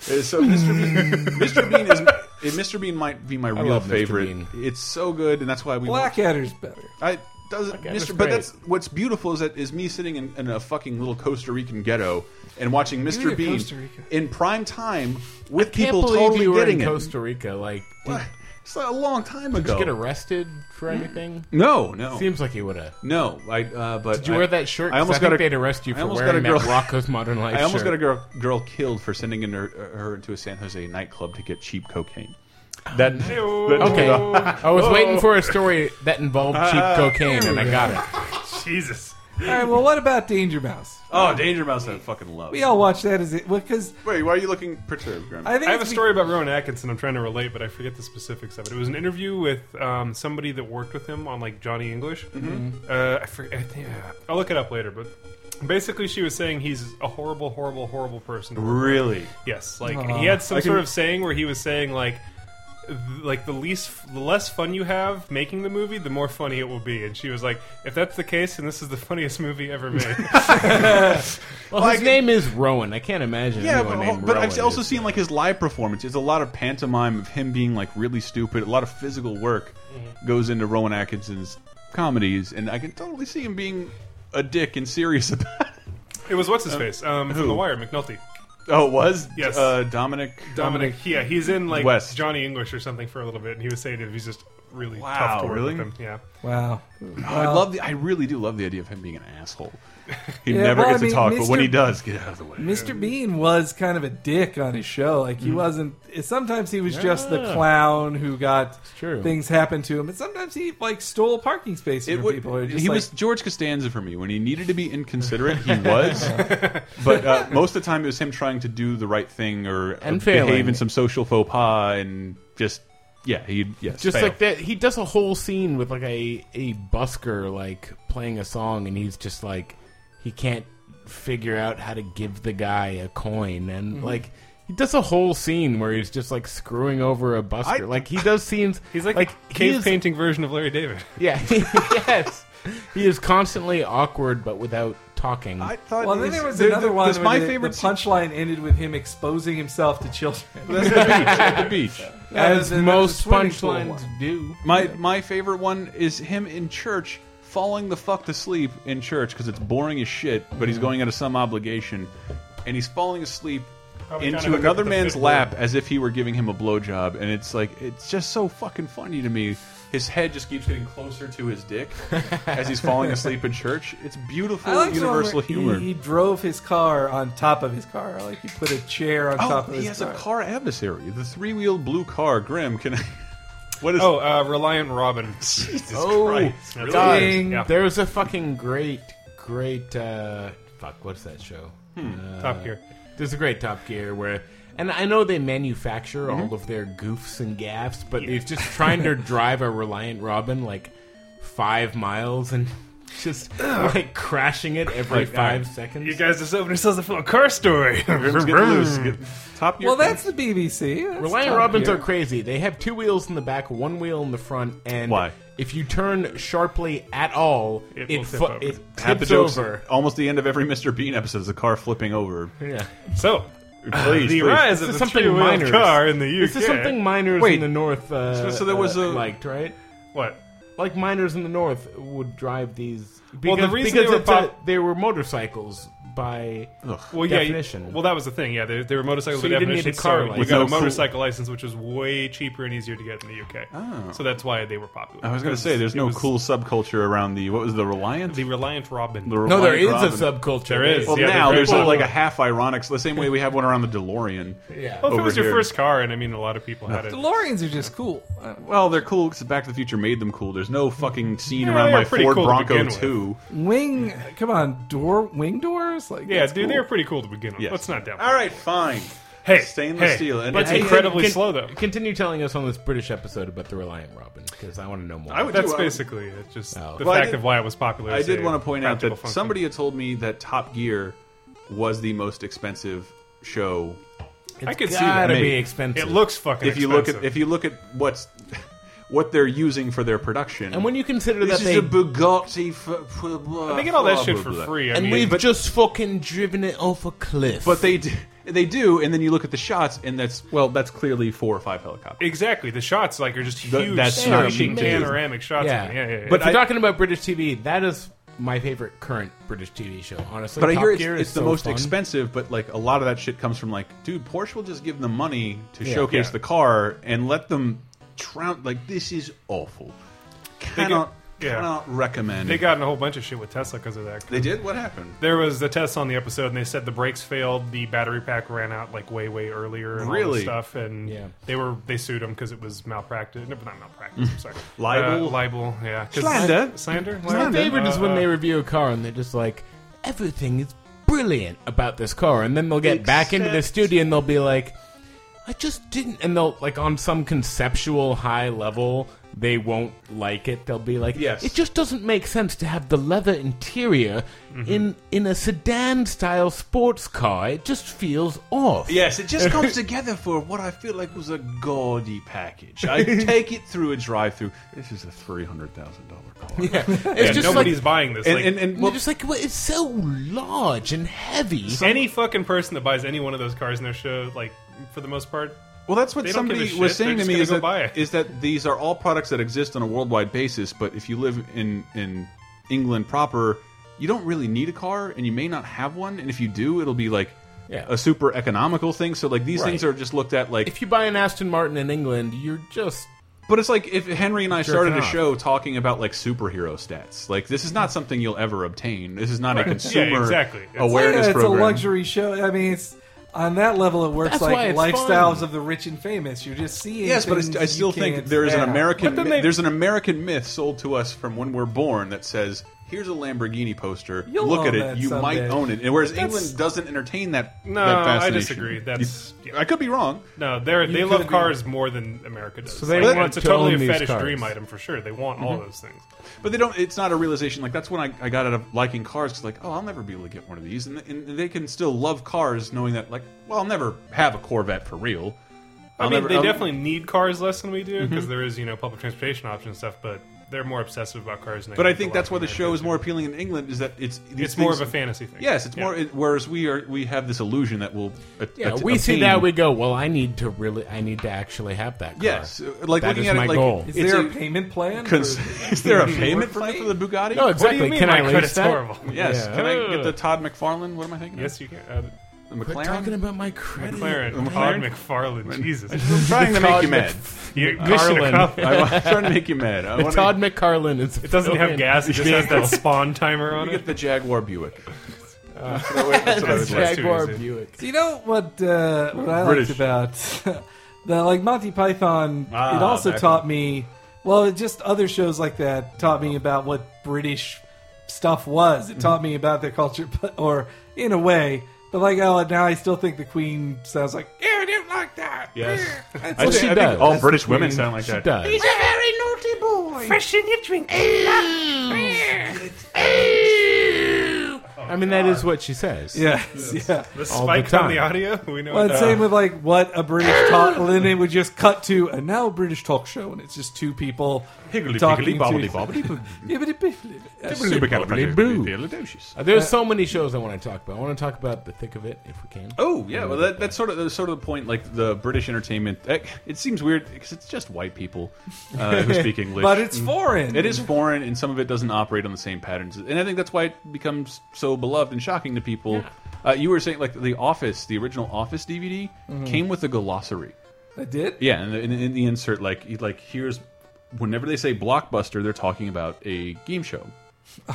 So Mr. Bean, Mr. Bean is eh, Mr. Bean might be my real love Mr. favorite. Bean. It's so good, and that's why we. Blackadder's better. I doesn't was Mr. great. But that's what's beautiful is that is me sitting in, in a fucking little Costa Rican ghetto and watching Mr. to Bean Costa Rica. in prime time with Can't people believe totally you were getting in it. Costa Rica. Like, did, It's like a long time ago. Did you get arrested for anything? no, Hmm? no, Seems like you would have. no. I uh, but Did you I- wear that shirt? I 'Cause almost think got a, they'd arrest you I for almost wearing got a that girl. Rocco's Modern Life I almost shirt. got a girl, girl killed for sending in her, her into a San Jose nightclub to get cheap cocaine. That, that- Okay, I was waiting for a story that involved cheap Uh, cocaine, and I got it. Jesus. All right, well, what about Danger Mouse? Oh, Danger Mouse, I fucking love. We all watch that as it because Wait, why are you looking perturbed, Graham? I think I have a it's be- story about Rowan Atkinson. I'm trying to relate, but I forget the specifics of it. It was an interview with um, somebody that worked with him on like Johnny English. Mm-hmm. Uh, I forget. I think, I'll look it up later. But basically, she was saying he's a horrible, horrible, horrible person. to work with. really? Yes, like he had some I sort can- of saying where he was saying like, th- like the least, the less fun you have making the movie, the more funny it will be. And she was like, if that's the case, then this is the funniest movie ever made. Well, his name is Rowan. I can't imagine. Yeah, anyone named but, but I've Rowan also is- seen like his live performance. It's a lot of pantomime of him being like really stupid. A lot of physical work Mm-hmm. goes into Rowan Atkinson's comedies, and I can totally see him being a dick and serious about. it. it was what's his face um, who? from The Wire, McNulty. Oh, it was Yes. uh, Dominic. Dominic, yeah, he's in like West. Johnny English or something for a little bit, and he was saying that he's just really Wow, tough to work really? with him. Yeah, wow. Oh, I love the. I really do love the idea of him being an asshole. He Yeah, never well, I gets to mean, talk, but when Mr. he does, get out of the way. Mr. Bean was kind of a dick on his show. Like Mm-hmm. he wasn't. Sometimes he was just Ah. the clown who got true. things happened to him, and sometimes he like stole parking spaces It from would- people. Or just he like- was George Costanza for me. When he needed to be inconsiderate, he was. but uh, most of the time, it was him trying to do the right thing or And uh, behave failing. in some social faux pas and just yeah, he yes, just fail. like that. He does a whole scene with like a a busker like playing a song, and he's just like he can't figure out how to give the guy a coin, and Mm-hmm. like. He does a whole scene where he's just like screwing over a busker. like he does scenes. he's like, a he cave is- painting version of Larry David. Yeah. yes. He is constantly awkward, but without talking. I thought. Well, then it there was the- another the- one. this- where my the, favorite The scene- punchline ended with him exposing himself to children. That's the beach, at the beach. That's as the- that's most the swimming pool punchlines one. do. My my favorite one is him in church falling the fuck to sleep in church because it's boring as shit, but he's going out of some obligation, and he's falling asleep Probably trying into to pick another up the man's fifth lap as if he were giving him a blowjob, and it's like it's just so fucking funny to me. His head just keeps getting closer to his dick as he's falling asleep in church. It's beautiful I liked the one universal where he- humor. He, drove his car on top of his car. Like he put a chair on oh, top of his he has a car adversary, the three-wheeled blue car. Grim, can I? What is? Oh, uh, Reliant Robin. Jesus Oh, Christ! Really? God. Ding. Yeah. There was a fucking great, great. Uh, fuck, what's that show? Hmm. Uh, Top Gear. There's a great Top Gear where. And I know they manufacture all of their goofs and gaffs, but he's just trying to drive a Reliant Robin like five miles and just like crashing it every five seconds. You guys just opened yourselves up for a car story. Grims, get loose. Get, top Gear. Well, that's the BBC. That's Reliant Top Robins Gear. are crazy. They have two wheels in the back, one wheel in the front, and Why? if you turn sharply at all, It it will tip fu- over. it Half the tips jokes. over. Almost the end of every Mr. Bean episode is a car flipping over. Yeah. so, Please, the please. rise of This is the something three-wheeled minor. car in the UK. This is something miners Wait. in the north. Uh, So- so there was uh, a- liked right. What? Like miners in the north would drive these. Because, Well, the reason because they were it's a- pop- they were motorcycles by. Well, yeah. you- Definition. well, that was the thing. Yeah, they, they were motorcycles So by you didn't definition. need a car so you license. got No a cool- motorcycle license, which was way cheaper and easier to get in the UK. Oh. So that's why they were popular. I was going to because say, there's it no was cool subculture around the what was the Reliant? The Reliant Robin. The No, there Reliant is Robin. a subculture. There is. Well, Yeah, now they're there's very a, like a cool. half ironic. The same way we have one around the DeLorean. Yeah. Well, if it over was your here. first car, and I mean, a lot of people had it. DeLoreans are just cool. Uh, Well, they're cool because Back to the Future made them cool. There's no fucking scene Yeah, around they're my pretty Ford cool to Bronco begin with. 2. Wing, come on, door wing doors. Like Yeah, that's dude, cool. they were pretty cool to begin with. Yes. Let's not doubt. All right, fine. Hey, Stainless hey, steel. And But it's hey, incredibly con- slow, though. Continue telling us on this British episode about the Reliant Robin because I want to know more. I would That's do- basically it. Just Oh. the Well, I fact did- of why it was popular. I is did a want to point out that practical function. somebody had told me that Top Gear was the most expensive show I could see it's that. gotta Mate, be expensive. It looks fucking. if you look at expensive. if you look at what's what they're using for their production. and when you consider this that is they a Bugatti, for, for blah, they get all that Oh, blah, shit blah, for blah. free. I and mean, we've just fucking driven it off a cliff. but they do, they do, and then you look at the shots, and that's well, that's clearly four or five helicopters. exactly the shots like are just Th- huge, that's not cheap sweeping to do. panoramic shots. yeah. Yeah, yeah, yeah. But if I- you're talking about British TV, that is my favorite current British TV show. Honestly, But I Top hear it's, Gear it's is the so most fun. expensive, but like a lot of that shit comes from like, dude, Porsche will just give them money to Yeah. showcase Yeah. the car and let them troun like this is awful. Cannot yeah. cannot recommend. They got in a whole bunch of shit with Tesla because of that. They did. What happened? There was the test on the episode, and they said the brakes failed. The battery pack ran out like way, way earlier, and all Really? this stuff. And Yeah. they were they sued them because it was malpractice. No, but not malpractice. I'm sorry, Libel? Uh, libel. Yeah, 'Cause- Slander. slander. My Libel? favorite is Uh, when uh, they review a car and they're just like, everything is brilliant about this car, and then they'll get back into the Except- studio and they'll be like, I just didn't, and they'll like on some conceptual high level. They won't like it. They'll be like, Yes. It just doesn't make sense to have the leather interior Mm-hmm. in in a sedan style sports car. It just feels off. Yes, it just comes together for what I feel like was a gaudy package. I take it through a drive-through. This is a three hundred thousand dollar car. Yeah. It's yeah, just nobody's like, buying this. And, like, and, and they're well, just like well, it's so large and heavy. any fucking person that buys any one of those cars in their show, like for the most part, Well, that's what They don't somebody give a was shit. saying They're to just me gonna is go that, buy it. is that these are all products that exist on a worldwide basis, but if you live in in England proper, you don't really need a car, and you may not have one, and if you do, it'll be like Yeah. a super economical thing. So like these Right. things are just looked at like. If you buy an Aston Martin in England, you're just but it's like if Henry and I started a off. show talking about like superhero stats, like this is not something you'll ever obtain. This is not a Yeah, consumer exactly. It's- awareness yeah, it's program. a luxury show. I mean, it's on that level, it works That's why like it's lifestyles fun. of the rich and famous. You're just seeing. Yes, but it's, things I you still think can't there is an have. American then they- there's an American myth sold to us from when we're born that says here's a Lamborghini poster. You'll look at own it. that You might someday." own it. And whereas That's- England doesn't entertain that. No, that I fascination. disagree. You- That's- yeah. I could be wrong. No, they're, they could love be- cars more than America does. they Like, want it's a to totally own these fetish cars. Mm-hmm. dream item for sure. They want all those things. But they don't. It's not a realization. Like that's when I, I got out of liking cars. 'cause like, oh, I'll never be able to get one of these. And, and they can still love cars, knowing that like, well, I'll never have a Corvette for real. I I'll mean, never- they I'll- Mm-hmm. definitely need cars less than we do because is, you know, public transportation options and stuff. But they're more obsessive about cars. Than But I a think lot that's of why the Americans show is do. more appealing in England. Is that it's these It's more things- of a fantasy thing. Yes, it's Yeah. more. It, whereas we are, we have this illusion that we'll. a- Yeah, a- we see obtain- that we go. Well, I need to really, I need to actually have that. Car. Yes, uh, like That looking is at my it, like, goal. Is it's there a- a payment plan? Cons- for- is there a Work payment for plan me? for the Bugatti? No, What do you exactly. mean Can my I lease credit's that? horrible? Yes. Yeah. Can I get the Todd McFarlane? What am I thinking? Yes, you can. Uh, of? the Quit McLaren. talking about my credit. McLaren, Todd McLaren? McFarlane, Jesus, I'm trying to make Todd you mad. You- mission Michelin. accomplished. I want- I'm trying to make you mad. I The wanna- Todd McCarlin is. It doesn't have gas. It just has that spawn timer You on get it. the Jaguar Buick. That's what I would- that's what I would like. Uh, Jaguar That's too easy. Buick. Do you know what uh, what I British. liked about the like Monty Python? Ah, it also back taught me. Well, it just other shows like that taught me about what British stuff was. It taught me about their culture, but, or in a way. But like, oh, now I still think the Queen sounds like. Yeah, I didn't like that. Yes. That's I Well, just- she think, I does. think all That's British women sound like that. Does. I mean, that is what she says. yes, yeah. The all the spike on the time. audio. We know. Well, uh, that. it's same with like what a British talk, and then it would just cut to and now a British talk show, and it's just two people Higgly talking piggly bobbly to. bobbly boo. Uh, There's so many shows I want to talk about. I want to talk about the thick of it if we can. Oh yeah, well that, that's sort of that's sort of the point. Like the British entertainment, eh, it seems weird because it's just white people uh, who speak English, But it's foreign. It is foreign, and some of it doesn't operate on the same patterns, and I think that's why it becomes so beloved and shocking to people. Uh, you were saying like the Office, the original Office DVD, Mm-hmm. came with a glossary. I did. Yeah, and in, in the insert, like you- like here's whenever they say blockbuster, they're talking about a game show.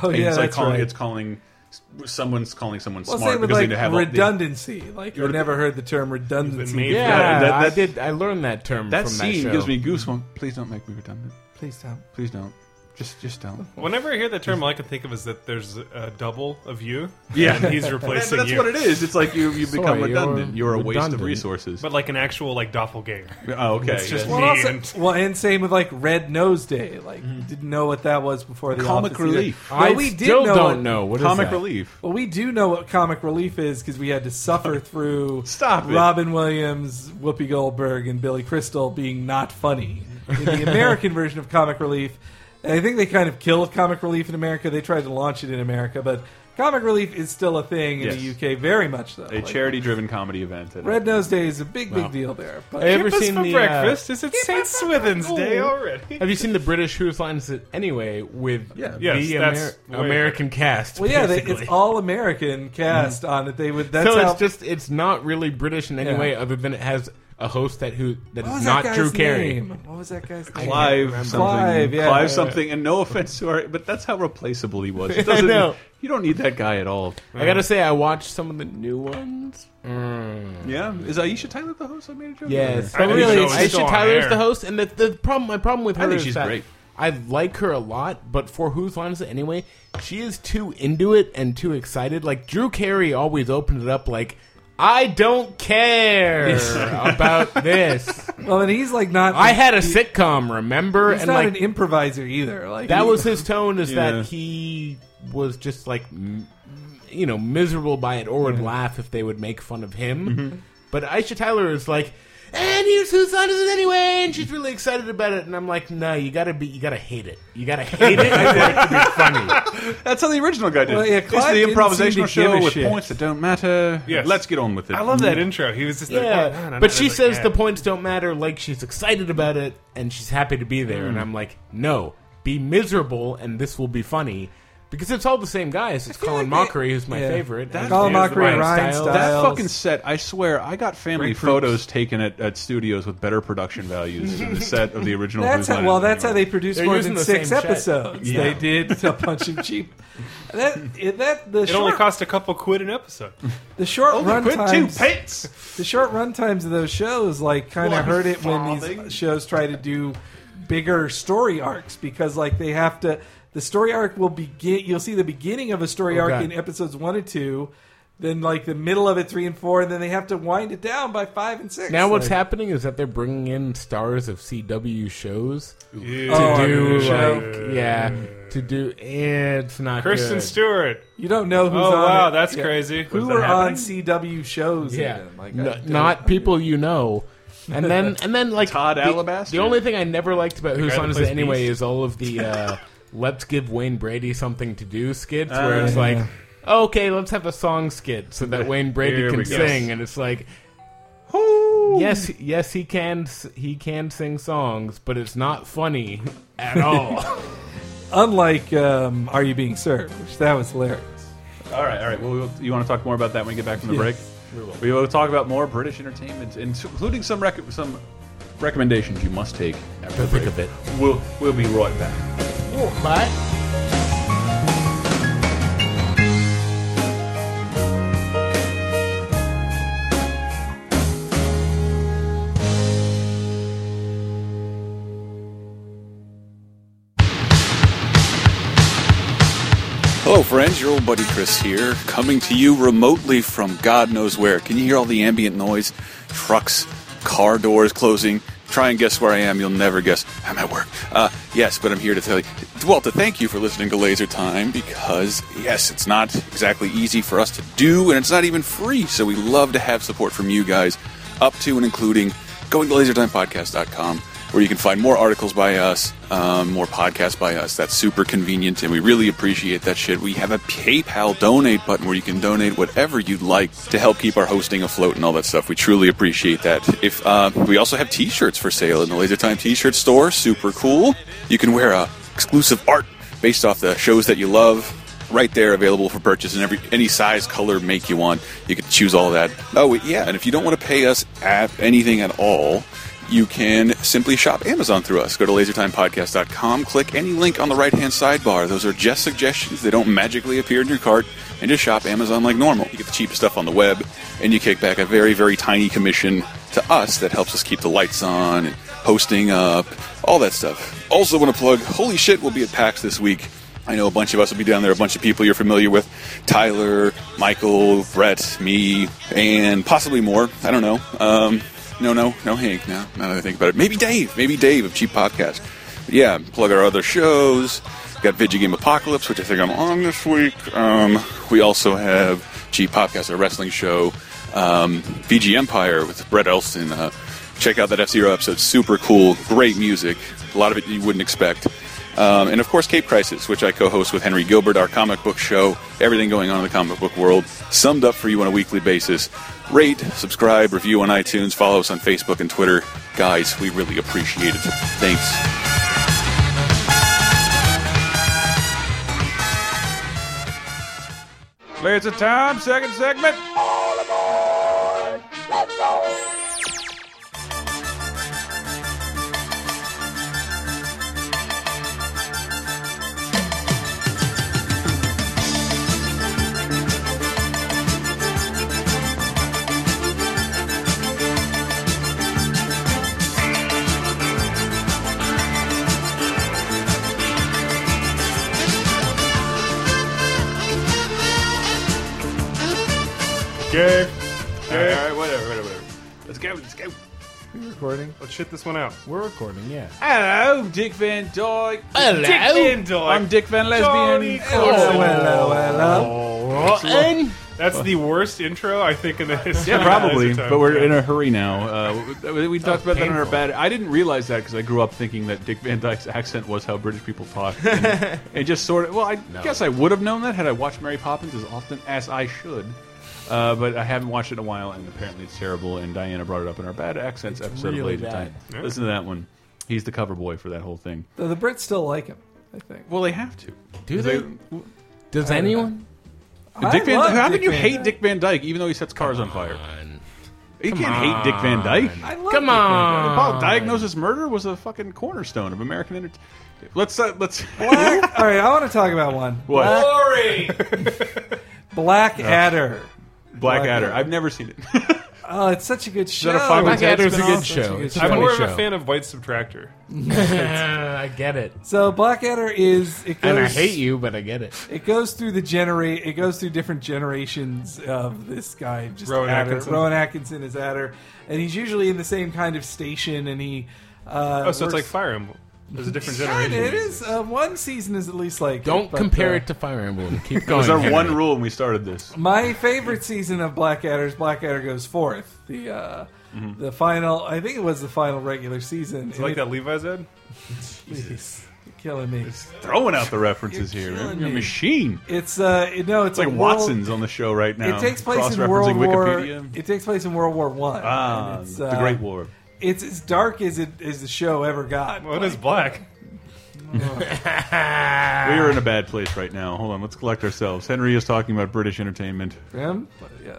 Oh And yeah, it's like that's calling right. it's calling someone's calling someone well, smart same with because like they have all- they- redundancy. like I never heard the term redundancy. made Yeah, Yeah, that- I that- did. I learned that term That from scene that show. gives me goosebumps. Please don't make me redundant. Please don't. Please don't. Just just don't. Whenever I hear that term, all I can think of is that there's a double of you. Yeah. and he's But replacing that's you. what it is. It's like you you become Sorry, you're redundant. You're, a waste of redundant. resources. But like an actual like doppelganger. oh, okay. It's just yeah. Well, Me also, and- well, and same with like Red Nose Day. Like, didn't know what that was before the Mm. Comic Office either. relief. Well, I we did still know don't what- know what is comic that? relief. Well, we do know what comic relief is because we had to suffer through Stop it. Robin Williams, Whoopi Goldberg, and Billy Crystal being not funny in the American version of comic relief. and I think they kind of killed comic relief in America. They tried to launch it in America, but comic relief is still a thing in Yes. the UK, very much A so. Like, charity-driven comedy event. at- Red Nose Day is a big, big deal there. But Have you ever Breakfast seen for the uh, breakfast? Is it St. Swithin's Day already? Have you seen the British Who's Line Is It Anyway with Yes, the Amer- that's way American cast? well, yeah, they, basically? Mm. it's all American cast on it. They would. That's so how, it's just it's not really British in any Yeah. way other than it has a host that who that What is was not that Drew guy's Carey. name? What was that guy's name? Clive remember. something. Clive, yeah. Clive something. And no offense to our, but that's how replaceable he was. It doesn't, know. You don't need that guy at all. I gotta say, I watched some of the new ones. Yeah, is Aisha Tyler the host? I made a joke. Yes, I but think really, so. it's It's Aisha still on Tyler is air. the host, and the, the problem. My problem with her I think is she's that great. I like her a lot, but for whose line is it anyway? She is too into it and too excited. Like Drew Carey always opened it up like. I don't care about this. Well, and he's like not. I had a sitcom, remember? He's and not like an improviser either. Like that he- was his tone is Yeah. that he was just like m- you know miserable by it or would laugh if they would make fun of him but aisha tyler is like and here's whose son is it anyway and she's really excited about it and i'm like no you gotta be you gotta hate it you gotta hate it for it to be funny That's how the original guy did. Well, yeah, it. it's Clive the didn't seem to improvisational give show a with shit. points that don't matter. Yes. let's get on with it. I love that intro. He was just like, "Oh, no, yeah no, but no," she like, says yeah. the points don't matter like she's excited about it and she's happy to be there Mm. and i'm like no be miserable and this will be funny because it's all the same guys. It's Colin like they- Mockery, who's my Yeah. favorite. That- and Colin there's Mockery, Ryan Stiles. Stiles. That Styles. fucking set, I swear, I got family Rick Proops. photos taken at, at studios with better production values than the set of the original. That's Whose how, Line well. Is It That's how Anyway? they produced They're more using than the six same shit. episodes. They did a bunch of cheap. That it- that the It only short cost a couple quid an episode. the short run two times pence. the short run times of those shows like kind One of hurt it when farthing. these shows try to do bigger story arcs because like they have to the story arc will begin you'll see the beginning of a story arc Oh, God. in episodes one and two then like the middle of it three and four and then they have to wind it down by five and six Now what's Like, happening is that they're bringing in stars of CW shows Yeah. to Oh, do yeah. like yeah to do eh, it's not Kristen good. Stewart. you don't know who's Oh on wow, it. that's Yeah. crazy. who Was that were on happening? CW shows yeah even? No- I don't- not people you know and then and then like Todd the, Alabaster? the only thing I never liked about Who's guy on that is plays it anyway Beast? is all of the uh, let's give Wayne Brady something to do skits where it's like okay let's have a song skit so that Wayne Brady Here can we go. sing and it's like Yes, yes, he can. s- He can sing songs, but it's not funny at all. unlike um, Are You Being Served which that was hilarious All right, all right. Well, we'll, you want to talk more about that when we get back from the break? We will. We will talk about more British entertainment, including some rec- some recommendations you must take after the break. of it. We'll we'll be right back. But Hello, friends. Your old buddy Chris here, coming to you remotely from God knows where. Can you hear all the ambient noise? Trucks, car doors closing. Try and guess where I am. You'll never guess. I'm at work. Uh, yes, but I'm here to tell you. Well, to thank you for listening to Laser Time because, yes, it's not exactly easy for us to do, and it's not even free. So we love to have support from you guys, up to and including going to lasertimepodcast.com where you can find more articles by us, um, more podcasts by us. That's super convenient, and we really appreciate that shit. We have a PayPal donate button where you can donate whatever you'd like to help keep our hosting afloat and all that stuff. We truly appreciate that. If uh, we also have T-shirts for sale in the Laser Time T-shirt store, super cool. You can wear uh, exclusive art based off the shows that you love right there available for purchase in every any size color make you want you can choose all that oh yeah and if you don't want to pay us at anything at all you can simply shop amazon through us go to lasertimepodcast.com click any link on the right hand sidebar those are just suggestions they don't magically appear in your cart and just shop amazon like normal you get the cheapest stuff on the web and you kick back a very very tiny commission to us that helps us keep the lights on and hosting up all that stuff also want to plug holy shit we'll be at pax this week I know a bunch of us will be down there, a bunch of people you're familiar with Tyler, Michael, Brett, me, and possibly more. I don't know. Um, no, no, no, Hank, no, now that I think about it. Maybe Dave, maybe Dave of Cheap Podcast. But yeah, plug our other shows. Got Video Game Apocalypse, which I think I'm on this week. Um, we also have Cheap Podcast, a wrestling show. Um, VG Empire with Brett Elston. Uh, check out that F Zero episode. Super cool, great music. A lot of it you wouldn't expect. Um, and of course, Cape Crisis, which I co host with Henry Gilbert, our comic book show, everything going on in the comic book world, summed up for you on a weekly basis. Rate, subscribe, review on iTunes, follow us on Facebook and Twitter. Guys, we really appreciate it. Thanks. It's a time, second segment. Jay, All right, whatever, whatever, whatever. Let's go, let's go. We're recording. let's shit this one out. We're recording, yeah. Hello, Dick Van Dyke. Hello. Dick Van Dyke. I'm Dick Van Johnny Lesbian. Carson. Oh, hello, hello. That's the worst intro I think in the history. Yeah, of probably. Laser Time. But we're Yeah. in a hurry now. Uh, we, we talked about that on our painful. bad. I didn't realize that because I grew up thinking that Dick Van Dyke's accent was how British people talk. And, and just sort of. Well, I guess I would have known that had I watched Mary Poppins as often as I should. Uh, but I haven't watched it in a while, and apparently it's terrible. And Diana brought it up in our bad accents episode really of Laser bad. Time. Listen to that one. He's the cover boy for that whole thing. The, the Brits still like him, I think. Well, they have to. Do They- they? Does anyone? Dick Van, love how can Dick you Van hate Dyke. Dick Van Dyke, even though he sets cars on fire? You can't hate Dick Van Dyke. I love Come Dick Van Dyke. on. Paul diagnoses murder was a fucking cornerstone of American entertainment. Let's uh, let's Black. All right, I want to talk about one. What? Black Adder. Blackadder. I've never seen it. Oh, it's such a good show. that a five or Black ten Adder's a spin-off? good show. It's a I'm funny more of show. a fan of White Subtractor. I get it. so Blackadder is it goes And I hate you, but I get it. it goes through the generate it goes through different generations of this guy just Rowan Adder. Atkinson. Rowan Atkinson is Adder and he's usually in the same kind of station and he uh, Oh, so it's works- like Fire Emblem. There's a different Kinda, generation. it is uh, one season is at least like Don't but, compare uh, it to Fire Emblem. Keep going. was our Henry. one rule when we started this. My favorite season of Blackadder is Blackadder goes fourth. The uh, the final, I think it was the final regular season. It's like that Levi's ad. You're killing me. Throwing out the references here. killing You're a me. machine. It's uh, it- no, it's It's like a world- Watson's on the show right now. It takes place in Cross-referencing World War. Wikipedia. It takes place in World War One. ah, and it's, the uh, Great War. It's as dark as it as the show ever got. Well, it is black. we are in a bad place right now. Hold on, let's collect ourselves. Henry is talking about British entertainment. Him? Yeah.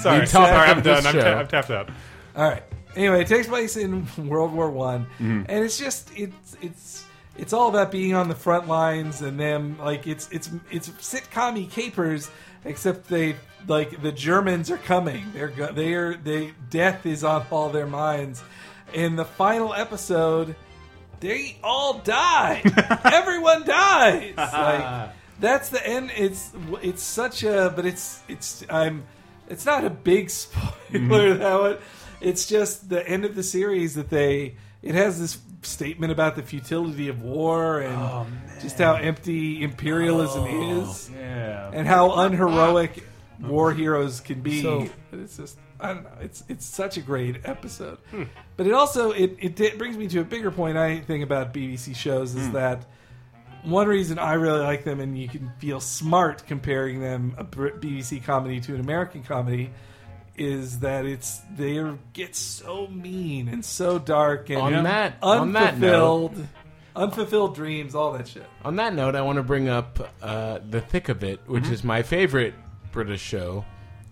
Sorry, talk sorry, I'm about this done. I'm, show. ta- I'm tapped out. All right. Anyway, it takes place in World War One, and it's just it's it's it's all about being on the front lines and them like it's it's it's sitcom capers, except they like the Germans are coming. They're go- they are they death is on all their minds. In the final episode, they all die. Everyone dies. Like that's the end. It's it's such a but it's it's I'm it's not a big spoiler that one. It's just the end of the series that they it has this statement about the futility of war and just how empty imperialism is Yeah. and how unheroic war heroes can be. So- But it's just I don't know. It's it's such a great episode, Hmm. but it also it it di- brings me to a bigger point. I think about BBC shows Hmm. is that one reason I really like them, and you can feel smart comparing them a Brit- BBC comedy to an American comedy. Is that it's they are- get so mean and so dark and On that- on that unfulfilled, unfulfilled dreams, all that shit. On that note, I want to bring up uh, The Thick of It, which is my favorite British show.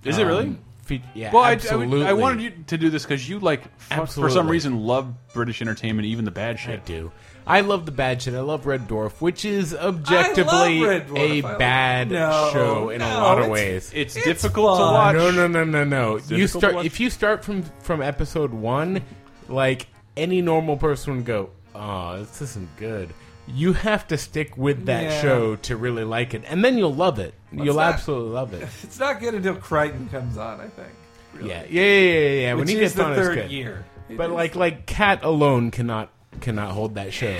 Mm-hmm. Um, Is it Um, really? Fe- yeah, Well, I, I, absolutely. would- I wanted you to do this because you like fu- for some Absolutely. reason love British entertainment, even the bad I shit. do. I love the bad shit. I love Red Dwarf, which is objectively Red Dwarf. a I love- bad No, show in a no, lot of it's- ways. It's, It's difficult to fun. watch. no, no, no, no, no. You difficult to start watch. if you start from from episode one, like any normal person would go, "Oh, this isn't good." You have to stick with that Yeah. show to really like it, and then you'll love it. you'll that? absolutely love it. It's not good until Crichton comes on, I think. Really. Yeah, yeah, yeah, yeah. yeah. When Which he is gets the on, it's third good. year. It But is- like, like Cat alone cannot cannot hold that show.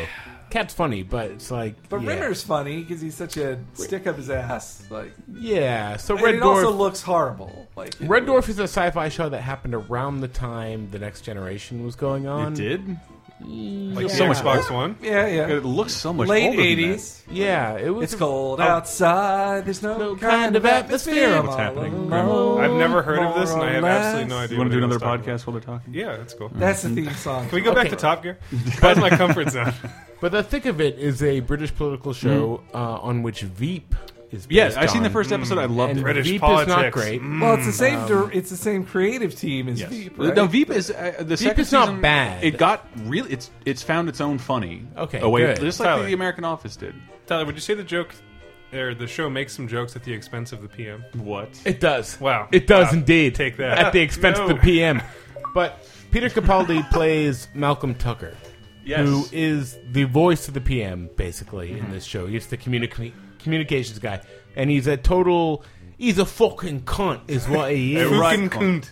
Cat's funny, but it's like, but yeah. Rimmer's funny because he's such a stick up his ass. Like, yeah. So and Red it Dwarf also looks horrible. Like, Red Dwarf is a sci-fi show that happened around the time the Next Generation was going on. It did. Like Yeah. the Xbox One. yeah, yeah. It looks so much Late older than that. eighties. Yeah, it was. It's cold Oh, outside. There's no, No kind of atmosphere. I'm What's all happening, alone, Grandma? I've never heard of this, and I have more or absolutely no less. idea. You want to what do another anyone's talking about. podcast while they're talking? Yeah, that's cool. Can That's the theme song. we go back Okay. to Top Gear? That's my comfort zone. But the thick of it is a British political show uh, on which Veep is. Based Yes, I've seen the on. first episode. I Mm, loved And it. British Veep is not politics. great. well, it's the same. dir- it's the same creative team as Veep. Right? No, Veep is uh, the second is not season, bad. It got really. It's it's found its own funny. Okay, away good. just like the, Tyler. American Office did. Tyler, would you say the joke or the show makes some jokes at the expense of the PM? What? It does. Wow. It does Wow. indeed. Take that. at the expense of the No. PM. But Peter Capaldi plays Malcolm Tucker, Yes. Mm-hmm. who is the voice of the PM basically in this show. He's the communica- communications guy, and he's a total. He's a fucking cunt, is what he is. Fucking right. cunt.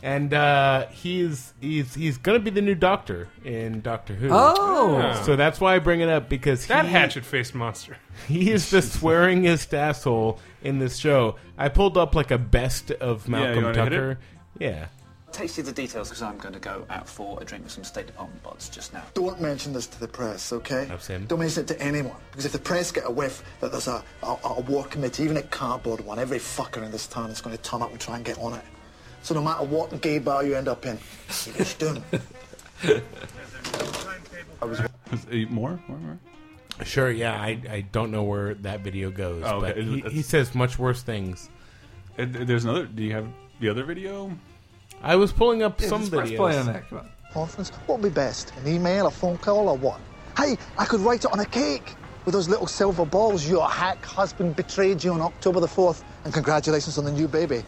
And uh, he's he's he's gonna be the new Doctor in Doctor Who. Oh, So that's why I bring it up because That he, hatchet faced monster. he is the swearingest asshole in this show. I pulled up like a best of Malcolm wanna hit Tucker. Yeah. Tasty the details because I'm going to go out for a drink with some State Department bots just now. Don't mention this to the press, okay? That's him. Don't mention it to anyone. Because if the press get a whiff that there's a, a, a war committee, even a cardboard one, every fucker in this town is going to turn up and try and get on it. So no matter what gay bar you end up in, you just do Eat uh, more? more, more. Sure, yeah. I, I don't know where that video goes, Oh, okay. but he, It's- he says much worse things. And th- There's another. Do you have the other video? I was pulling up yeah, some let's- let's play on videos. that. Come on. Conference. What would be best? An email, a phone call, or what? Hey, I could write it on a cake with those little silver balls. Your hack husband betrayed you on October the 4th, and congratulations on the new baby.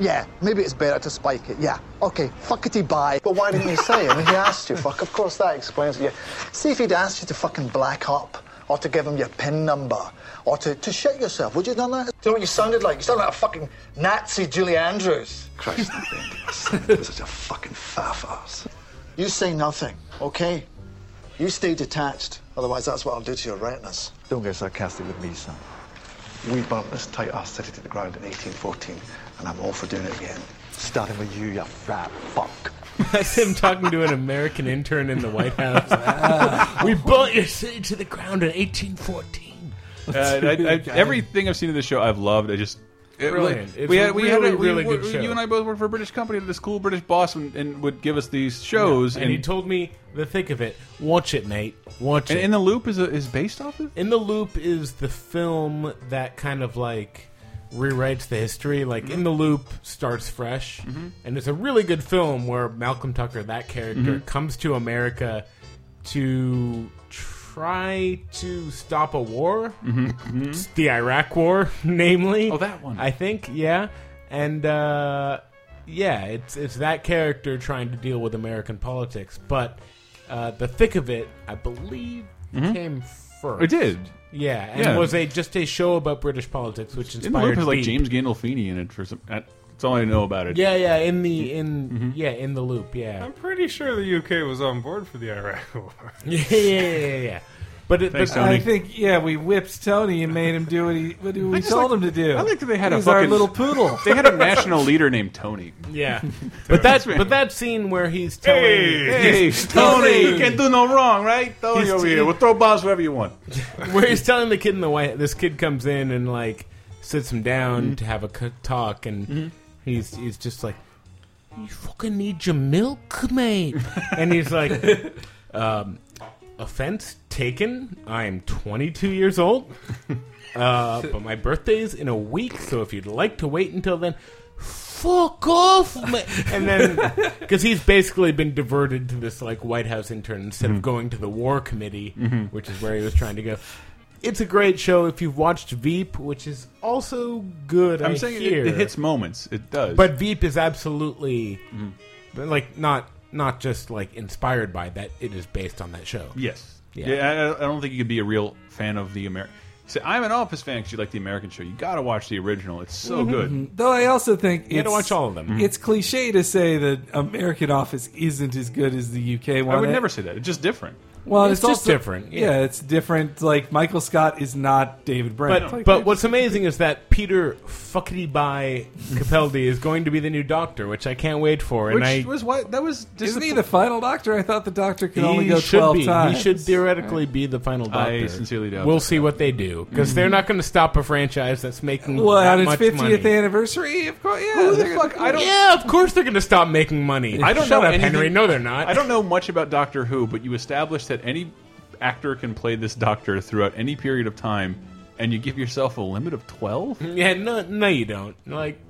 Yeah, maybe it's better to spike it. Yeah, okay, fuckity bye. But why didn't you say it? I mean, he asked you, fuck. Of course, that explains it. Yeah. See if he'd asked you to fucking black up, or to give him your PIN number, or to, to shit yourself. Would you have done that? Do you know what you sounded like? You sounded like a fucking Nazi Julie Andrews. Christ, I'm such a fucking faff ass. You say nothing, okay? You stay detached, otherwise that's what I'll do to your retinas. Don't get sarcastic with me, son. We burnt this tight ass city to the ground in 1814, and I'm all for doing it again. Starting with you, you fat fuck. That's him talking to an American intern in the White House. we burnt your city to the ground in 1814. Uh, I, I, everything I've seen in this show, I've loved. I just it, Brilliant. like, It's we a had we had really, a, we, really we- good show. You and I both worked for a British company. This cool British boss and, and would give us these shows. And he told me the thick of it. Watch it, Nate. Watch and it. in the loop is a, is based off of. In the Loop is the film that kind of like rewrites the history. Mm-hmm. Like In the Loop starts fresh, and it's a really good film where Malcolm Tucker, that character, Mm-hmm. comes to America to try to stop a war, the Iraq War, namely. Mm-hmm. Oh, that one. I think, yeah, and. uh yeah, it's it's that character trying to deal with American politics, but uh, the thick of it, I believe, came first. Mm-hmm. It did. Yeah, and Yeah. was a just a show about British politics, which In the loop inspired has like Veep. James Gandolfini in it for some. That, that's all I know about it. Yeah, yeah, in the in Mm-hmm. yeah in the loop, yeah, I'm pretty sure the UK was on board for the Iraq War. yeah, yeah, yeah, yeah, yeah. But it, Thanks, but Tony. I think yeah, we whipped Tony and made him do what he what we told him to do. I like that they had a He's our fucking- little poodle. They had a national leader named Tony. yeah, but that but that scene where he's telling Hey, Tony, you can do no wrong, right? Tony He's- over here. We'll throw bombs wherever you want. where he's telling the kid in the white this kid comes in and like sits him down Mm-hmm. to have a c- talk and he's he's just like you fucking need your milk mate and he's like um offense taken i am 22 years old uh but my birthday's in a week so if you'd like to wait until then fuck off mate. and then because he's basically been diverted to this like white house intern instead Mm-hmm. of going to the war committee which is where he was trying to go it's a great show if you've watched veep which is also good I'm I saying hear. it, it hits moments. It does. but veep is absolutely Mm-hmm. but, like not not just like inspired by that it is based on that show yes, Yeah. yeah, I, I don't think you could be a real fan of the American. Say, I'm an Office fan because you like the American show. You got to watch the original. It's so good. Though I also think you it's, gotta watch all of them It's cliche to say that American Office isn't as good as the UK one. I would never say that. It's just different. Well, It's it's, just also- different, yeah. Yeah. it's different. Like Michael Scott is not David Brent. But Like, but what's amazing is that Peter fuckity by Capaldi is going to be the new Doctor, which I can't wait for. Which and I was what that was. isn't he disapp- the final Doctor? I thought the Doctor could only he go should twelve be. times. He should theoretically be the final Doctor. I sincerely doubt We'll that. see what they do because they're not going to stop a franchise that's making Well, that on its much fiftieth money. anniversary, of course. Yeah. Who the they're fuck? gonna- I don't. Yeah, of course they're going to stop making money. I don't Shut know up, Henry. anything- No, they're not. I don't know much about Doctor Who, but you established that any actor can play this Doctor throughout any period of time, and you give yourself a limit of twelve. Mm-hmm. Yeah, no, no, you don't. Like,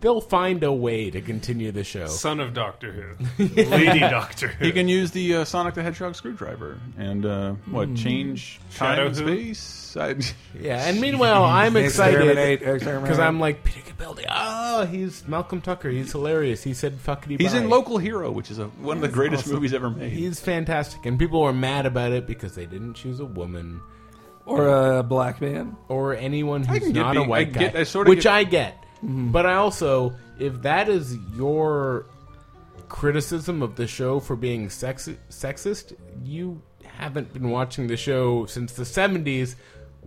they'll find a way to continue the show. Son of Doctor Who. Lady Doctor Who. You can use the uh, Sonic the Hedgehog screwdriver and uh, what change Mm. Shadow time and Who? space. I, Yeah, and meanwhile, I'm excited Exterminate, exterminate. because I'm like Peter Capaldi. Oh, he's Malcolm Tucker. He's hilarious. He said fuckity. he's in bye." Local Hero, which is a, one of the greatest movies ever made. He's fantastic, and people were mad about it because they didn't choose a woman. or a black man. or anyone who's can get not a being- white I get- guy, I sorta which get- Mm-hmm. I get. But I also, if that is your criticism of the show for being sexi- sexist, you haven't been watching the show since the '70s.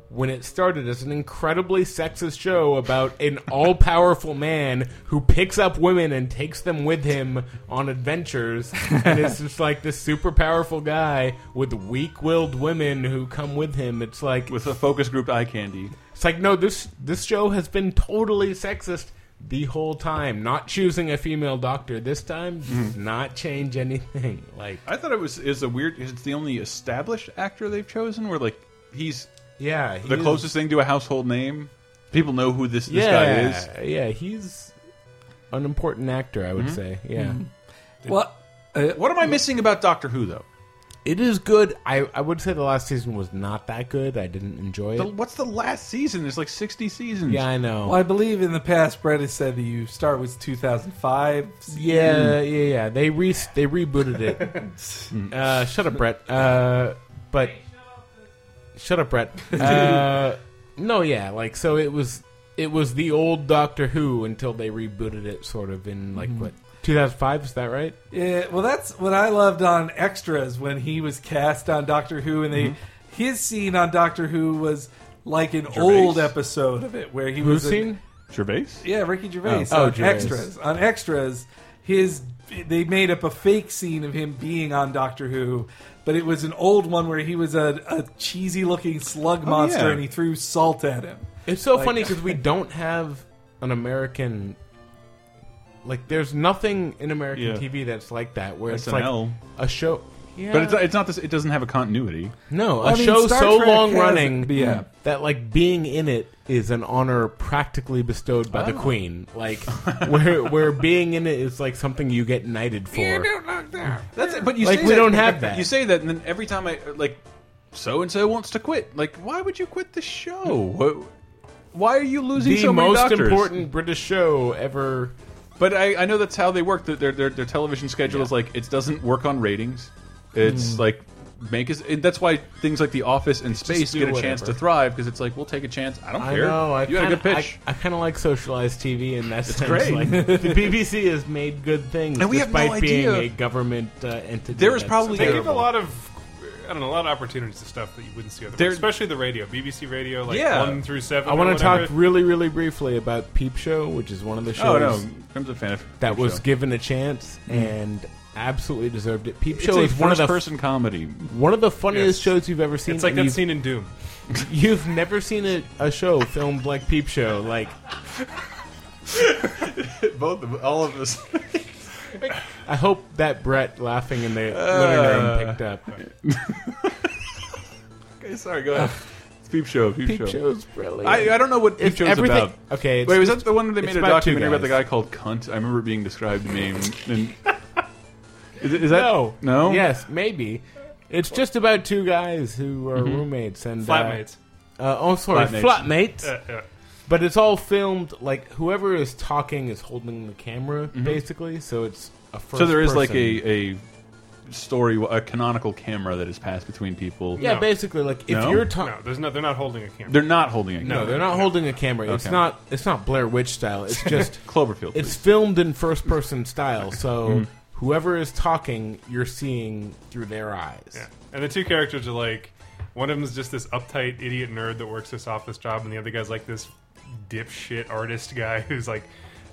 When it started as an incredibly sexist show about an all powerful man who picks up women and takes them with him on adventures. And it's just like this super powerful guy with weak willed women who come with him. It's like. with a focus group eye candy. It's like no, this this show has been totally sexist the whole time. Not choosing a female doctor this time does Mm-hmm. not change anything. Like I thought it was is a weird. It's the only established actor they've chosen. Where like he's yeah, he the is- closest thing to a household name. People know who this, this Yeah, guy is. Mm-hmm. yeah, he's an important actor. I would say, yeah. Well, uh, What am I missing about Doctor Who though? It is good. I, I would say the last season was not that good. I didn't enjoy it. The, what's the last season? There's like 60 seasons. yeah, I know. well, I believe in the past, Brett has said that you start with 2005. Yeah, yeah, yeah. They re they rebooted it. uh, shut up, Brett. Uh, but shut up, Brett. Uh, no, yeah, like so it was it was the old Doctor Who until they rebooted it, sort of in like what 2005 is that right? Yeah, Eh, well, that's what I loved on Extras when he was cast on Doctor Who, and they Mm-hmm. his scene on Doctor Who was like an old episode of it where he Who's was an- seen? Gervais? Yeah, Ricky Gervais. Oh. on Oh, Gervais. extras. On extras, his they made up a fake scene of him being on Doctor Who, but it was an old one where he was a, a cheesy looking slug Oh, monster yeah. and he threw salt at him. It's so funny 'cause funny because we don't have an American. Like, there's nothing in American Yeah. TV that's like that, where it's like SNL. a show. Yeah. But it's, it's not this. It doesn't have a continuity. No, I a mean, show Star so Trek long has- running Mm. yeah. that like being in it is an honor practically bestowed by the Oh. queen. Like where where being in it is like something you get knighted for. That's it. But you Like, say we that- don't have that. You say that, and then every time I like, so and so wants to quit. Like, why would you quit the show? What- Why are you losing The so many most doctors? important British show ever. But I, I know that's how they work. That Their, their their television schedule is like it doesn't work on ratings. It's like make us. and That's why things like The Office and Space do get a chance to whatever. thrive because it's like we'll take a chance. I don't I care. know. I you had a good kinda- pitch. I, I kind of like socialized TV in that it's sense. great. Like, the BBC has made good things, And we have no despite being idea. a government uh, entity. There is that's probably- They They terrible. give a lot of, I don't know, a lot of opportunities to stuff that you wouldn't see otherwise. They're- Especially the radio, BBC radio, like Yeah. one through seven. I want to talk really, really briefly about Peep Show, which is one of the shows oh no, I'm a fan of that Peep was Show. Mm. given a chance and absolutely deserved it. Peep It's Show a is one of the person comedy. one of the funniest Yes. shows you've ever seen. It's like and that you've, scene in Doom. you've never seen a, a show filmed like Peep Show. Like Both of, all of us. I hope that Brett laughing in the Uh, living room picked up. okay, sorry. Go ahead. It's Peep Show. Peep, Peep Show. Show's brilliant. I, I don't know what Peep It's Show's everything- about. okay, it's- Wait, was that the one where they it's made a about two documentary about the guys. guy called Cunt? I remember it being described to me. and- and- is, it- is that no, no? yes, maybe. It's just about two guys who are roommates and Flatmates. Uh, uh, oh, sorry, Mm-hmm. Flatmates. flatmates. Uh, yeah. But it's all filmed like whoever is talking is holding the camera, basically. So it's a first. Mm-hmm. So there is like person. a, a story, a canonical camera that is passed between people. yeah, No. basically like if No? you're No, talking. there's no, they're not holding a camera. They're not holding it. No, they're not holding a camera. It's Okay. not. It's not Blair Witch style. It's just Cloverfield. it's It's filmed in first person style. So Mm-hmm. whoever is talking, you're seeing through their eyes. Yeah. And the two characters are like, one of them is just this uptight idiot nerd that works this office job, and the other guy's like this dipshit artist guy who's like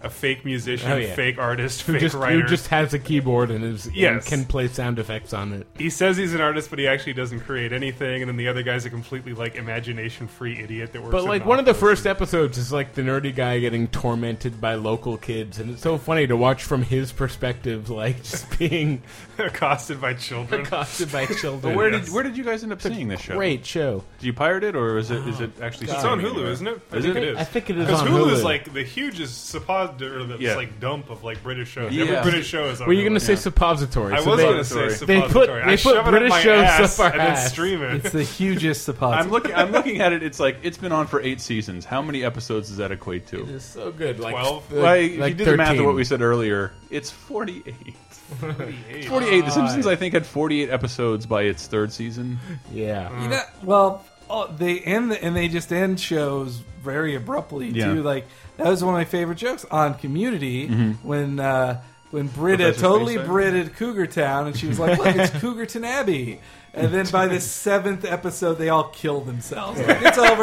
a fake musician, Oh, yeah. fake artist, Who fake just, writer. who just has a keyboard and is and Yes. can play sound effects on it. He says he's an artist, but he actually doesn't create anything. And then the other guy's a completely like imagination free idiot that works. But in like an one of the office. first episodes is like the nerdy guy getting tormented by local kids, and it's so funny to watch from his perspective, like just being accosted by children. accosted by children. where did where did you guys end up seeing this show? Great show. Did you pirate it or is it is it actually? It's on streaming Hulu, anywhere? isn't it? Is it? I think it is Because on Hulu, Hulu. is like the hugest suppository, or the Yeah. like dump of like British shows. Yeah. Every British show is on. Were you Hulu. going to say suppository? I So was they- going to say suppository. They put- suppository. they I put shove it British up my shows up ass our and then ass. stream It's it. the hugest I'm suppository. looking. I'm looking at it. It's like it's been on for eight seasons. How many episodes does that equate to? It's so good. Like Twelve? like- Like, if like you do the math of 13. what we said earlier, it's 48. 48. Mm. The Simpsons, I think, had 48 episodes by its third season. Yeah. well, oh, they end the, and they just end shows very abruptly Yeah. too. Like that was one of my favorite jokes on Community when uh, when Britta Mm-hmm. Professor totally Space Britta Cougar Town, and she was like, "Look, it's Cougarton Abbey." And then by the seventh episode, they all kill themselves. Like, it's over.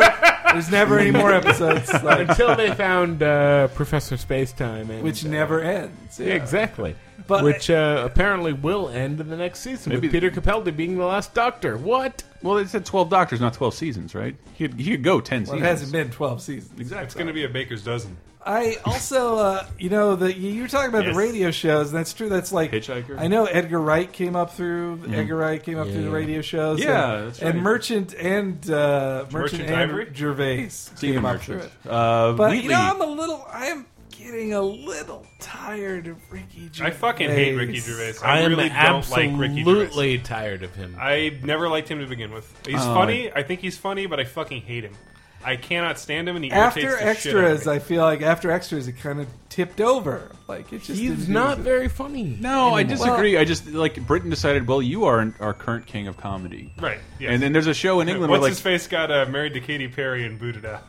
There's never any more episodes, like, Until they found uh, Professor Spacetime, and, which uh, never ends. yeah, exactly. But- which uh, apparently will end in the next season Maybe- with Peter Capaldi being the last Doctor. What? Well, they said 12 doctors, not 12 seasons, right? He could, he could go Well, 10 it seasons. hasn't been twelve seasons. Exactly. It's going to be a baker's dozen. I also, uh, you know, the you you were talking about Yes. the radio shows, and that's true. That's like Hitchhiker. I know Edgar Wright came up through Edgar Wright came up through the yeah. radio shows. Yeah, and, that's and right. Merchant and uh, Merchant, Merchant and Ivory? Gervais Stephen came up Merchant. through it. Uh, But Wheatley. you know, I'm a little, I'm getting a little tired of Ricky Gervais. I fucking hate Ricky Gervais. I I, am really don't like Ricky Gervais. absolutely tired of him. I never liked him to begin with. He's funny. I think he's funny, but I fucking hate him. I cannot stand him, and he After irritates the shit out of extras, me. I feel like after extras, it kind of tipped over. Like it just didn't He's do not anything. very funny. No, I disagree. I just like Britain decided. Well, you are an- our current king of comedy, Right, yes. And then there's a show in England What's where like his face got uh, married to Katy Perry and booted out?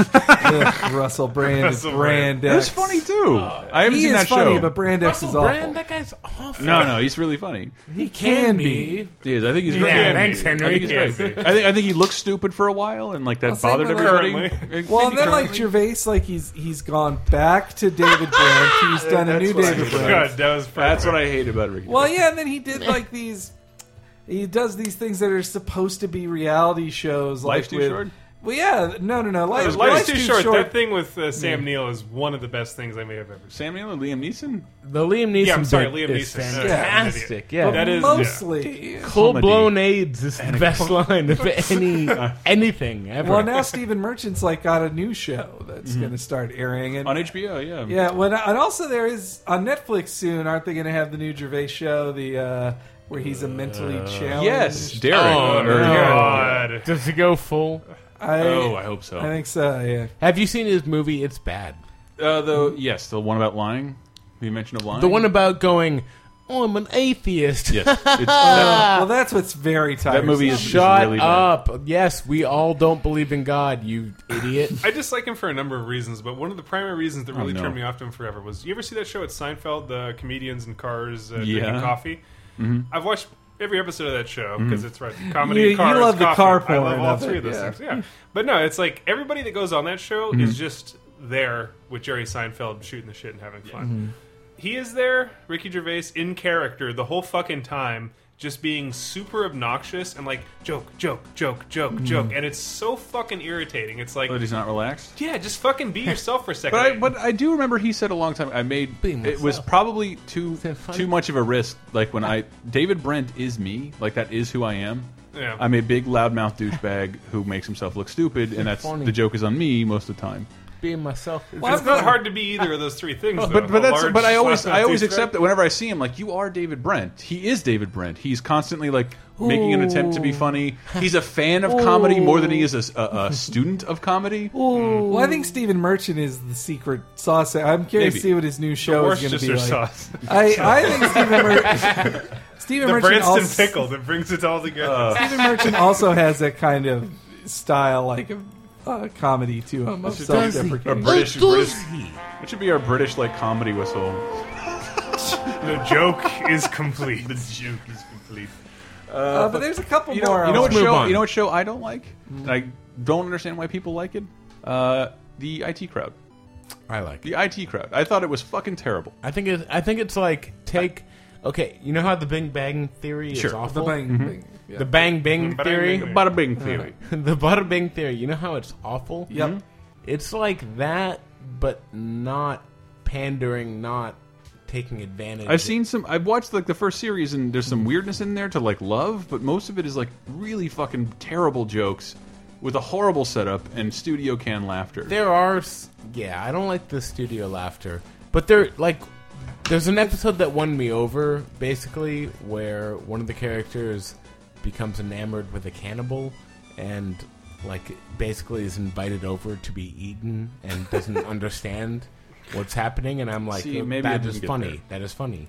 Ugh, Russell Brand is Russell Brand. Brand. it was X. funny too. I haven't Uh, He seen is that funny, show. but Brand X Russell is awful. Brand, that guy's awful. no, no, he's really funny. he can can be. be. He is. I think he's. Yeah, really thanks, funny. Henry. I think, he's Can't great. I think I think he looked stupid for a while, and like that Well, same bothered with everybody. Currently. Well, and then like Gervais, like he's he's gone back to David Brent. He's done a new David Brent. God, that was that's perfect. what I hate about Ricky. Well, yeah, and then he did like these. He does these things that are supposed to be reality shows. Like Life's Too with- Short? Well, yeah, no, no, no. Life, Life's Life's, too, short. That thing with uh, Sam Neill is one of the best things I may have ever seen. Sam Neill and Liam Neeson. The Liam Neeson Yeah, I'm sorry, bit Liam is Neeson. Uh, fantastic. I'm an idiot. Yeah, That is- mostly. full blown AIDS is the best line of any anything ever. Well, now Stephen Merchant's like got a new show that's going to start airing, and on HBO. Yeah, Yeah, when, and also there is on Netflix soon. Aren't they going to have the new Gervais show, the uh, where he's a mentally challenged? Yes, Derek. Oh, Or- no. God. Does he go full? I, Oh, I hope so. I think so. Yeah, Have you seen his movie? It's bad. uh, the yes, the one about lying. You mentioned of lying. The one about going, oh, I'm an atheist. Yes, it's, that, well, that's what's very tiresome. that movie is Shut is really bad. up. Yes, we all don't believe in God, you idiot. I dislike him for a number of reasons, but one of the primary reasons Oh, that really no. turned me off to him forever was you ever see that show at Seinfeld, the comedians in cars uh, Yeah. drinking coffee? I've watched every episode of that show because it's right comedy. Mm-hmm. You- you cars, love the coffee. car I porn love all of three it, of those yeah. Mm-hmm. things. Yeah, but no, it's like everybody that goes on that show is just there with Jerry Seinfeld shooting the shit and having fun. Mm-hmm. He is there, Ricky Gervais, in character the whole fucking time, just being super obnoxious and like joke, joke, joke, joke, joke, Mm-hmm. and it's so fucking irritating. It's like But he's not relaxed. yeah, just fucking be yourself for a second. But I, but I do remember he said a long time. I made Being it was myself. probably too that funny? too much of a risk. Like when I David Brent is me. Like that is who I am. Yeah. I'm a big loudmouth douchebag who makes himself look stupid, and that's funny. the joke is on me most of the time. Being myself. is- it's not hard to be either of those three things. Though. Oh, But but A that's large but I always slap on I always Tuesday. accept that whenever I see him, like you are David Brent. He is David Brent. He's constantly like making an attempt to be funny. He's a fan of comedy more than he is a, s- a- a student of comedy. Well, I think Stephen Merchant is the secret sauce. I'm curious Maybe. to see what his new show is going to be Worcestershire like. sauce, I, I think Stephen Merchant. Stephen the Merchant Branston also, pickle that brings it all together. Uh, Stephen Merchant also has that kind of style, like a uh, comedy to him, Uh, of self-deprecating. British, British. What should be our British like comedy whistle? the joke is complete. the joke is complete. Uh, but there's a couple You more. know, you I know what Let's move show? on. Mm. You know what show I don't like? And I don't understand why people like it. Uh, the IT crowd. I like it. The IT crowd. I thought it was fucking terrible. I think it's, I think it's like take. Okay, you know how the Bing Bang Theory is Sure. awful? the bang, Mm-hmm. bang. Yeah. The Bang Bing The Bang Theory? Bing. Bada bing theory. the Bada Bing Theory, you know how it's awful? Yep. It's like that, but not pandering, not taking advantage. I've seen some. I've watched like the first series, and there's some weirdness in there to like love, but most of it is like really fucking terrible jokes with a horrible setup and studio can laughter. There are, s- yeah, I don't like the studio laughter, but there, like, there's an episode that won me over, basically, where one of the characters becomes enamored with a cannibal and, like, basically is invited over to be eaten and doesn't understand what's happening, and I'm like, See, "Oh, maybe I that didn't is get funny. That is funny.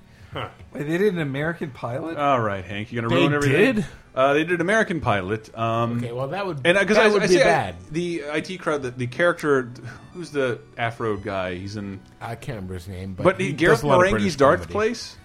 Wait, they did an American pilot? All right, Hank, you're gonna They ruin everything. did? Uh, they did American Pilot. Um, Okay, well that would and because that I would I be say I- bad. the IT crowd, the, the character, who's the Afro guy? He's in, I, can't remember his name, but, but he he, does Gareth a lot of Marenghi's British Darth comedy. Mm-hmm. Place.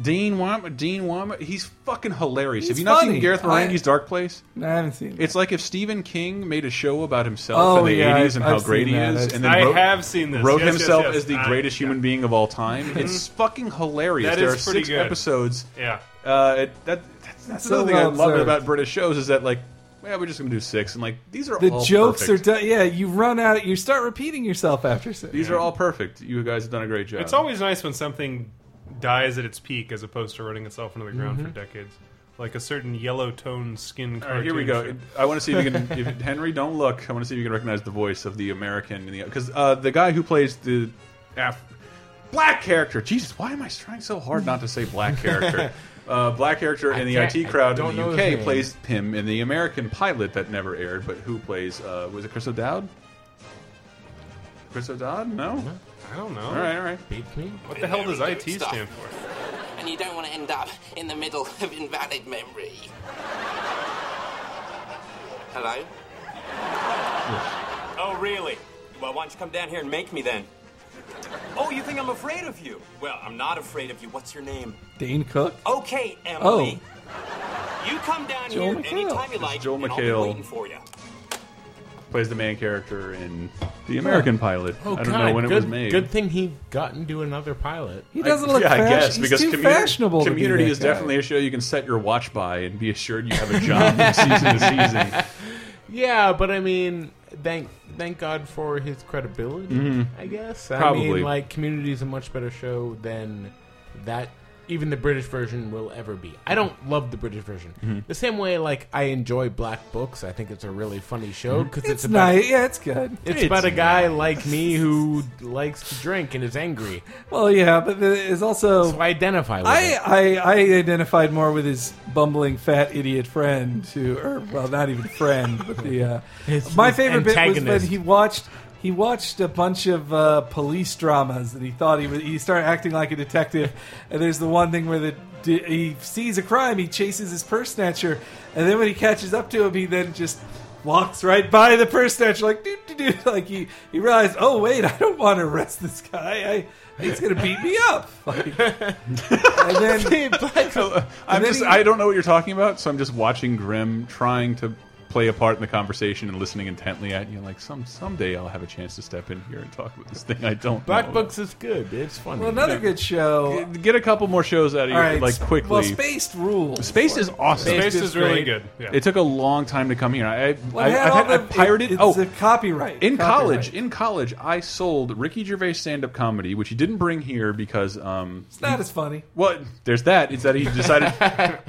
Dean Wama, Dean Wama, he's fucking hilarious. He's Have you not funny. seen Gareth I- Marenghi's Dark Place? No, I haven't seen it. It's like if Stephen King made a show about himself Oh, in the yeah, 80s and I've- how I've great seen he that. is, I've and I then wrote, have seen this. wrote Yes, yes, himself yes. as the I- greatest human being of all Mm-hmm. time. It's fucking hilarious. That there is are pretty six good. episodes. Yeah. Uh, it, that, that's that's So another thing I well love observed. about British shows is that like, yeah, we're just gonna do six, and like these are the all jokes perfect. are done. Yeah, you run out. You start repeating yourself after six. These are all perfect. You guys have done a great job. It's always nice when something dies at its peak as opposed to running itself into the ground for decades. Like a certain yellow tone skin Mm-hmm. All right, cartoon. here we go. show. I want to see if you can, if, Henry, don't look. I want to see if you can recognize the voice of the American in the because uh, the guy who plays the Af black character. Jesus, why am I trying so hard not to say black character? uh, black character in the can't- IT I crowd don't in the know his UK name. plays Pim in the American pilot that never aired, but who plays? Uh, was it Chris O'Dowd? Chris O'Dowd? No. I don't know. All right, all right. Beats me. What the hell does IT stand for? And you don't want to end up in the middle of invalid memory. Hello? Oh, really? Well, why don't you come down here and make me then? Oh, you think I'm afraid of you? Well, I'm not afraid of you. What's your name? Dane Cook. Oh. Okay, Emily. You come down Joel here McHale. anytime you like, Joel and I'll be McHale. waiting for you. Plays the main character in the American pilot. Oh I god, don't know when good, it was made. Good thing he got into another pilot. He doesn't look. yeah, I fashion- guess he's because too community, fashionable. to be community that is guy. definitely a show you can set your watch by and be assured you have a job from season to season. Yeah, but I mean, thank thank God for his credibility. I guess. I Mm-hmm. Probably. mean, like Community is a much better show than that. Even the British version will ever be. I don't love the British version. Mm-hmm. The same way, like I enjoy Black Books. I think it's a really funny Mm-hmm. show because it's, It's about nice. Yeah, it's good. it's, about a guy like me who likes to drink and is angry. Well, yeah, but it's also. So I identify with I, it. I I identified more with his bumbling fat idiot friend who, or well, not even friend, but the uh, His- my his favorite bit was when antagonist. he watched he watched a bunch of uh, police dramas and he thought he was he started acting like a detective. And there's the one thing where the d- he sees a crime, he chases his purse snatcher, and then when he catches up to him, he then just. Walks right by the purse snatcher, like doo doo doo. Like he, he realized, oh wait, I don't want to arrest this guy. I he's gonna beat me up. Like, and then So, Oh, I'm And then just, he- I don't know what you're talking about, so I'm just watching Grimm trying to play a part in the conversation and listening intently at you. Like some someday I'll have a chance to step in here and talk about this thing I don't. Black know. Books is good. It's funny. well, another good show. Get a couple more shows out of All here, right, like sp- quickly. Well, Spaced rules. Space is awesome. Space is great. really good. Yeah. It took a long time to come here. I, I, Well, it I, had I've all had- I the- pirated. it- It's oh, a copyright in Copyright. college in college i sold ricky gervais stand-up comedy which he didn't bring here because um It's not as funny. well there's that it's that he decided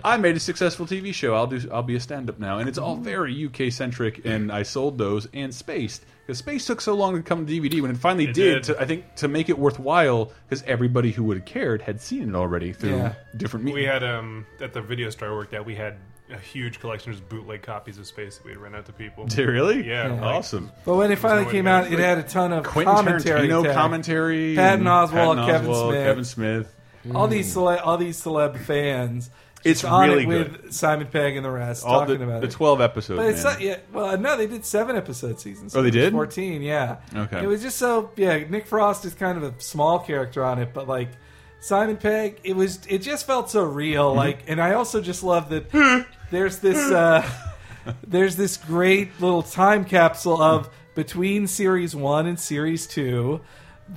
i made a successful tv show i'll do i'll be a stand-up now and it's all Mm. very uk centric and i sold those and spaced because space took so long to come to dvd when it finally did, did. To, i think to make it worthwhile because everybody who would have cared had seen it already through Yeah. different We media had um at the video store I worked at, we had a huge collection of just bootleg copies of Space that we'd rent out to people. really Yeah, like- awesome But when it finally no came way out, to- it had a ton of Quentin commentary. Tarantino tag. commentary Patton and Oswalt, Patton Kevin Oswalt, Smith. Kevin Smith All these celeb, all these celeb fans. It's just on really it with Simon Pegg and the rest all talking the, about the it. 12 episodes But it's man. not yeah. Well, no, they did seven episode seasons. Oh, they did? fourteen. Yeah. Okay. It was just so yeah. Nick Frost is kind of a small character on it, but like Simon Pegg, it was it just felt so real. Mm-hmm. Like, and I also just love that there's this uh, there's this great little time capsule of between series one and series two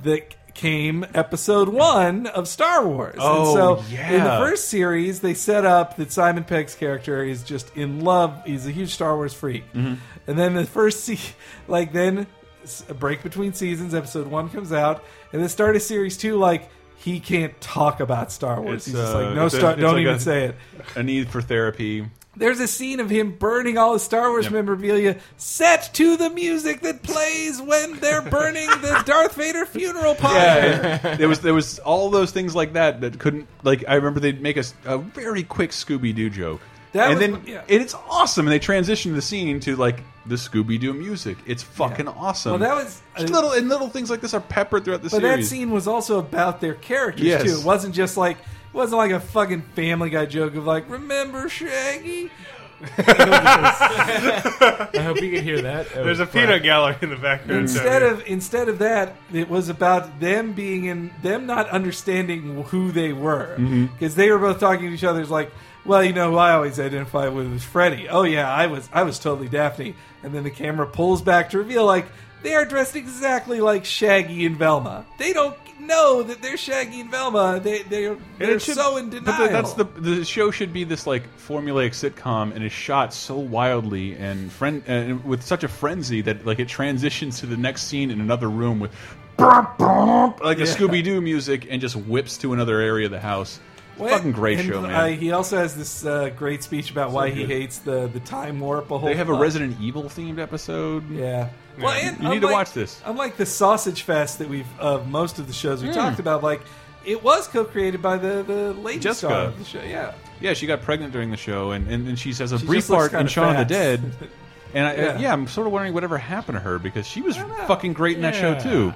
that came episode one of Star Wars. and Oh, so yeah. in the first first series, they set up that Simon Pegg's character is just in love. He's a huge Star Wars freak. Mm-hmm. And then the first, se- like, then s- a break between seasons, episode one comes out, and the start of series two, like, he can't talk about Star Wars. It's, He's just uh, like, no, it's a- Star, it's don't like even a- say it. a need for therapy. There's a scene of him burning all his Star Wars memorabilia set to the music that plays when they're burning the Darth Vader funeral pyre. there was there was all those things like that that couldn't like I remember they'd make us a, very quick Scooby Doo joke. That and was- then yeah. and it's awesome and they transitioned the scene to like the Scooby Doo music. It's fucking awesome. Well, that was- Just little and little things like this are peppered throughout the But series. that scene was also about their characters Yes. too. It wasn't just like it wasn't like a fucking Family Guy joke of like remember Shaggy. I hope you could hear that. That was There's a fun. peanut gallery in the background. Instead of instead of that, it was about them being in them not understanding who they were Mm-hmm. Mhm. because they were both talking to each other. It's like, well, you know, who I always identify with was Freddy. Oh yeah, I was I was totally Daphne. And then the camera pulls back to reveal like they are dressed exactly like Shaggy and Velma. They don't know that they're Shaggy and Velma. They they are And it they're should- so in but denial. the- that's the the show should be this like formulaic sitcom and is shot so wildly and friend and with such a frenzy that like it transitions to the next scene in another room with burp, burp, like the Yeah. Scooby Doo music and just whips to another area of the house. It's a What- fucking great and, show, man. uh, he also has this uh, great speech about why he good. hates the, the time warp. A whole they have a lot. Resident Evil themed episode. uh, Yeah. Well, and you need to unlike- watch this. Unlike the sausage fest that we've of most of the shows we Mm. talked about, like it was co-created by the the lady star Jessica. of the show. Yeah. Yeah, she got pregnant during the show, and, and, and she has a She brief just looks part in kinda Shaun of the fat. Dead. And I, yeah. Yeah. yeah, I'm sort of wondering whatever happened to her because she was fucking great in that Yeah. show too.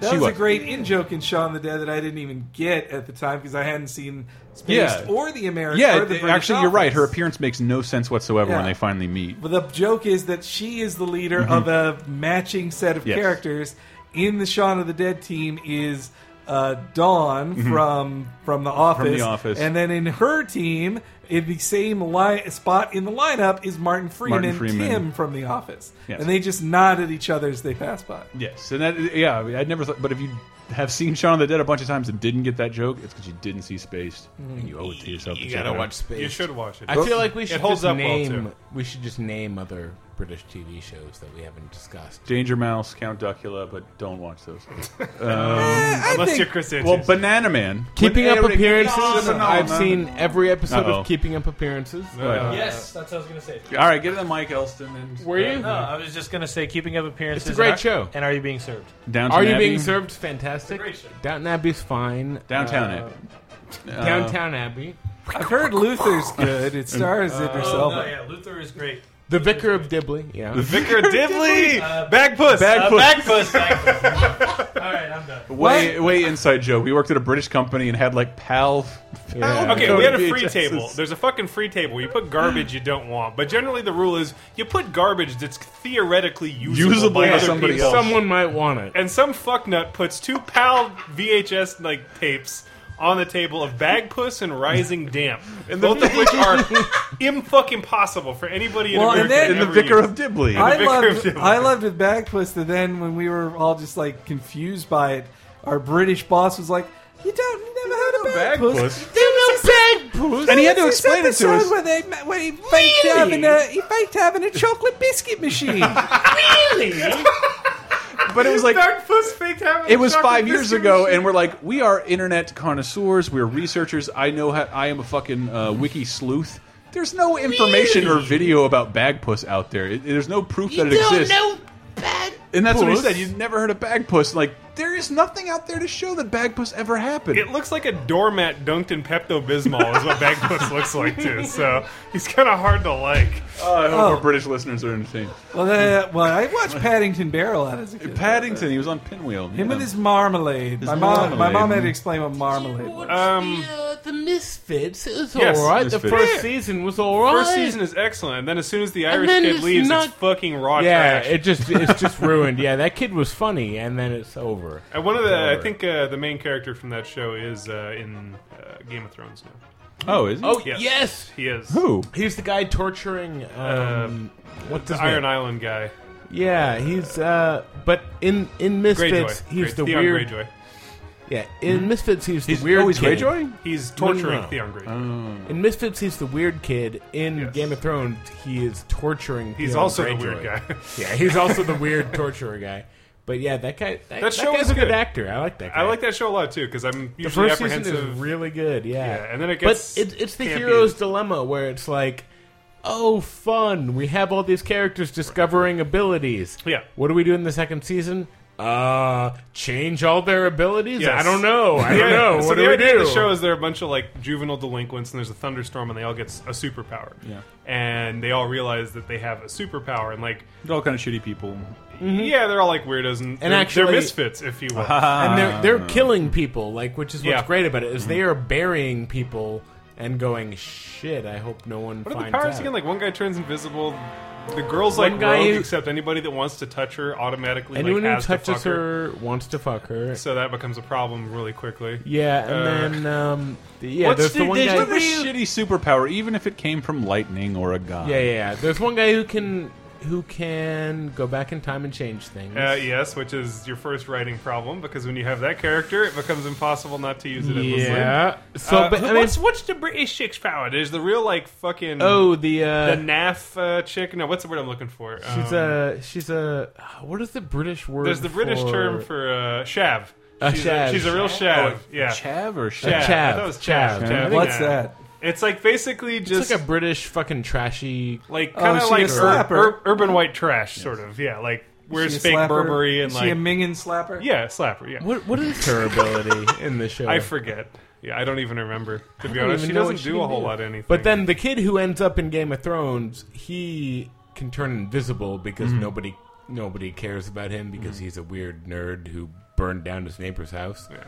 That She was, was. a great in joke in Shaun the Dead that I didn't even get at the time because I hadn't seen Spaced Yeah. or the American. yeah, or the it- British actually, you're right. Office. Her appearance makes no sense whatsoever when Yeah. they finally meet. But the joke is that she is the leader Mhm. of a matching set of Yes. characters. In the Shaun of the Dead team is uh, Dawn Mhm. from from the Office, Office. and then in her team, in the same li- spot in the lineup is Martin Freeman, Martin Freeman. Tim from the Office, Yes. and they just nod at each other as they pass by. Yes, and that yeah, I'd never thought. But if you have seen Shaun of the Dead a bunch of times and didn't get that joke, it's because you didn't see Spaced, Mm-hmm. and you owe it to yourself. Oh, You to check gotta it out. watch Space. You should watch it. I feel like we It should holds just up well, name. too. we should just name other British TV shows that we haven't discussed. Danger Mouse, Count Dracula, but don't watch those. Um, Unless think- you're Chris Well, Andrews. Banana Man. Keeping When Up Eric- Appearances. No, no, no, I've no, seen no. every episode Uh-oh. of Keeping Up Appearances. Uh, yes, that's what I was gonna say. All right, get it to Mike Elston. And, Were you? No, I was just gonna say, keeping up appearances. It's a great and show. And are you being served? Downton Are you Abbey? being served? Fantastic. Downton Abbey's fine. Downtown Uh, Abbey. Uh, Downtown Abbey. I've heard Luther's good. It stars Uh, Idris Oh, Elba. no, yeah, Luther is great. The Vicar of Dibley. Yeah. The Vicar Dibley! Uh, Bagpuss! Uh, Bagpuss! Bagpuss. All right, I'm done. Uh, Way, way inside joke. We worked at a British company and had like PAL. pal Okay, we had a free VHSs. table. There's a fucking free table. You put garbage you don't want, but generally the rule is you put garbage that's theoretically usable, Usable by by other somebody people. else. Someone might want it. And some fucknut puts two PAL VHS like tapes on the table of Bagpuss and Rising Damp, and both of which are im fucking possible for anybody in Well, Oh, and America. then to ever use. And the I Vicar of loved, Dibley. I loved with Bagpuss that then when we were all just like confused by it, our British boss was like, "You don't, you never heard of Bagpuss? Bagpuss. You know Bagpuss?" And he had to It's this explain it to episode us. Where, they, ma- where he faked Really? having a he faked having a chocolate biscuit machine. really? But it was like- Bagpuss faked having It a was chocolate five years biscuit ago, machine. and we're like, we are internet connoisseurs. We're researchers. I know how. I am a fucking uh, wiki sleuth. There's no information or video about Bagpuss out there. It- there's no proof that it exists. and that's what he Puss? said. You've never heard of Bagpuss. Like, there is nothing out there to show that Bagpuss ever happened. It looks like a doormat dunked in Pepto Bismol, is what Bagpuss looks like, too. So he's kind of hard to like. Oh, I hope Oh. our British listeners are entertained. well, uh, well, I watched Paddington Bear a lot as a kid. Paddington, he was on Pinwheel. Him yeah. and his marmalade. His my mom, my marmalade. mom had to explain what marmalade was. Um, the Misfits. It was Yes, all right. The Misfits. first Yeah. season was all right. First season is excellent, and then as soon as the And Irish then kid it's leaves, not- it's fucking raw yeah, trash. it just it's just ruined. Yeah, that kid was funny, and then it's over. And one of It's the, I over. think uh, the main character from that show is uh, in uh, Game of Thrones now. Oh, is he? Oh yes, he is. Who? He's the guy torturing. Um, what's the his Iron name? Island guy? Yeah, he's uh, but in in Misfits, Greyjoy. he's the Grey- Theon weird. Greyjoy. Yeah, in Mhm. Misfits, Hmm? he's the He's- weird. oh, he's kid. Greyjoy? He's torturing Theon Greyjoy. In Misfits, he's the weird kid. In Game of Thrones, he is torturing. He's Theon also the Greyjoy. weird guy. yeah, he's also the weird torturer guy. But yeah, that guy. That, That, that show guy's is a good actor. I like that. guy. I like that show a lot too because I'm The usually first season apprehensive. is really good, yeah. Yeah, and then it gets But it, it's the campy. hero's dilemma where it's like, oh, fun! We have all these characters discovering abilities. Yeah. What do we do in the second season? Uh, change all their abilities? I Yes. don't know. I don't Yeah, know. So what the do we idea do? of the show is there are a bunch of like juvenile delinquents, and there's a thunderstorm, and they all get s- a superpower. Yeah. and they all realize that they have a superpower, and like they're all kind of shitty people. Yeah, they're all like weirdos, and, and they're, actually they're misfits, if you will. and they're they're killing people, like which is what's Ah. Yeah. Mm-hmm. great about it is they are burying people and going shit. I hope no one What are finds the powers out. again? Like one guy turns invisible. The girl's One like guy rogue, who- except anybody that wants to touch her automatically Anyone like, who has to touches fuck her. her wants to fuck her. So that becomes a problem really quickly. Yeah, and Uh, then um, the- yeah, what's there's the, the- one there's guy. what a shitty superpower, even if it came from lightning or a gun. Yeah, yeah, yeah. There's one guy who can who can go back in time and change things. Uh, yes, which is your first writing problem because when you have that character, it becomes impossible not to use it. endlessly. Yeah. So, Uh, but, who- I mean- what's what's the British chick's power? There's the real like fucking Oh, the, uh, the naff uh, chick. No, what's the word I'm looking for? She's Um, a she's a what is the British word? There's the British for- term for uh, shav. A she's, shav. A, she's a real shav. Oh, yeah. chav or A shav? chav. I thought it was Chav. chav. Chav. chav. What's yeah. that? It's like basically It's just like a Oh, British fucking trashy, like kind of like ur- ur- urban white trash, sort of. Yeah, like she where's a fake slapper? Burberry and Is like she a mingin slapper. Yeah, slapper. Yeah. What what is her ability in the show? I forget. Yeah, I don't even remember. To I be don't honest, even she know doesn't what do a whole lot of anything. But then the kid who ends up in Game of Thrones, he can turn invisible because Mhm. nobody nobody cares about him because he's a weird nerd who burned down his neighbor's house. Yeah.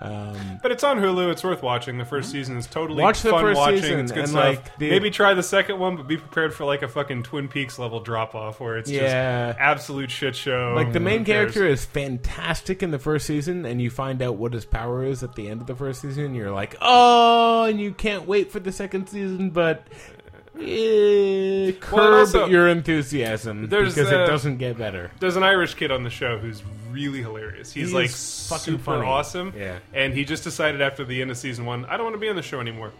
Um, But it's on Hulu. It's worth watching. The first season is totally Mm-hmm. Watch the fun first watching. season it's good and, stuff. like, the- Maybe try the second one, but be prepared for like a fucking Twin Peaks level drop off where it's Yeah. just absolute shit show. like the Who main cares? character is fantastic in the first season, and you find out what his power is at the end of the first season. And you're like, oh, and you can't wait for the second season, but eh, curb Well, and also- your enthusiasm because There's, it uh, doesn't get better. There's an Irish kid on the show who's really hilarious. He's He like is fucking super funny. awesome. Yeah. And he just decided after the end of season one, I don't want to be on the show anymore.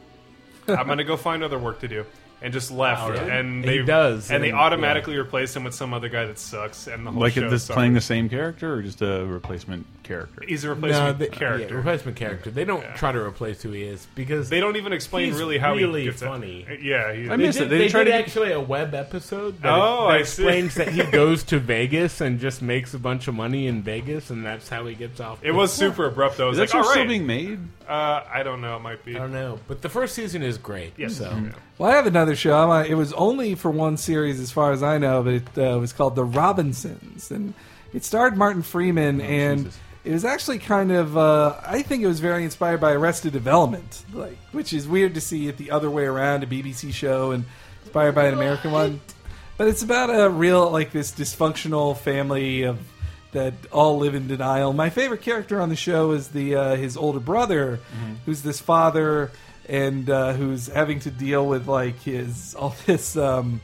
I'm going to go find other work to do. And just left, Wow, really? and He they does, and, they and- automatically replace him with some other guy that sucks, and the whole Like show this sucks. playing the same character or just a replacement character? He's a replacement No, they- character. yeah, replacement character. They don't try to replace who he is because They don't even explain he's really how really he gets funny. It. Uh, Yeah, he, I miss it. They, did actually a web episode. That, Oh, that I see. explains that he goes to Vegas and just makes a bunch of money in Vegas, and that's how he gets off. It was super abrupt. though. I was Is that like, show "All still right." being made? Uh, I don't know. It might be. I don't know. But the first season is great. Yes. so. Well, I have another show. I'm on, it was only for one series, as far as I know, but it uh, was called The Robinsons, and it starred Martin Freeman, and it was actually kind of. Uh, I think it was very inspired by Arrested Development, like which is weird to see it the other way around, a BBC show, and inspired by an American one. But it's about a real like this dysfunctional family of that all live in denial. My favorite character on the show is the uh, his older brother, who's this father and uh, who's having to deal with like his all this. Um,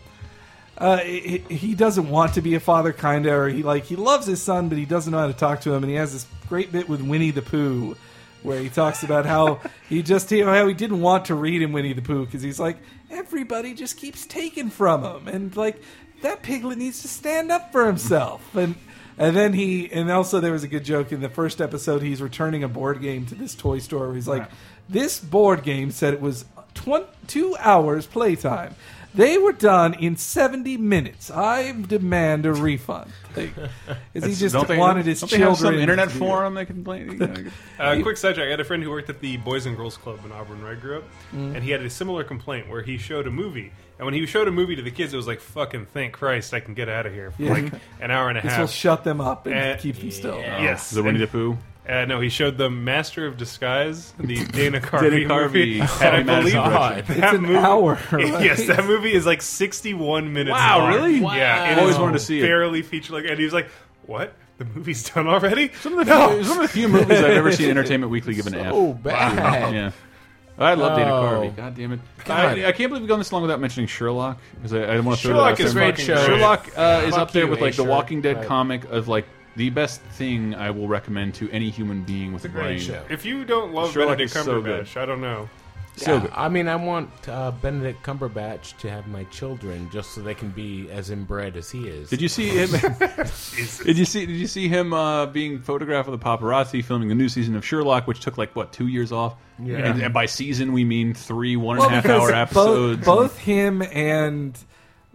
uh, he, he doesn't want to be a father, kinda, or he like he loves his son, but he doesn't know how to talk to him. And he has this great bit with Winnie the Pooh, where he talks about how he just you know, how he didn't want to read him Winnie the Pooh because he's like everybody just keeps taking from him, and like that piglet needs to stand up for himself. And and then he and also there was a good joke in the first episode. He's returning a board game to this toy store. Where he's like, this board game said it was twen- two hours playtime. They were done in 70 minutes. I demand a refund. Like, is he That's- just don't they- wanted his don't they children? have some internet to- forum they can play- you know, Uh, quick sidetrack. I had a friend who worked at the Boys and Girls Club in Auburn, where I grew up, Mm. and he had a similar complaint where he showed a movie, and when he showed a movie to the kids, it was like, "Fucking thank Christ, I can get out of here for Yeah. like an hour and a This half." will shut them up and keep them still. Yes, Oh, the Winnie And- the Pooh? Uh, no, he showed them Master of Disguise, the Dana Carvey, Dana Carvey. movie, Oh, and I my believe God. that It's an movie- hour, Yes, right? that movie is like sixty-one minutes. Wow, long. really? Wow. Yeah, it I've always is wanted to see it. Barely feature like, and he was like, "What? The movie's done already?" Some of the few- some of the few movies I've ever seen Entertainment Weekly give an F. So bad. Wow. Yeah. I love Dana Oh. Carvey. God damn it! God. I, I can't believe we've gone this long without mentioning Sherlock because I, I want to throw that out Sherlock is there. great show. Sherlock uh, is Fuck up there you, with like the A-Shirt. Walking Dead Right. comic of like the best thing I will recommend to any human being with a brain. If you don't love Sherlock Benedict is so Cumberbatch, I don't know. So Yeah, good. I mean, I want uh, Benedict Cumberbatch to have my children just so they can be as inbred as he is. Did you see him? did you see? Did you see him uh, being photographed with the paparazzi filming the new season of Sherlock, which took like what two years off? Yeah. And, and by season we mean three one and Well, a half because hour bo- episodes. Both, him and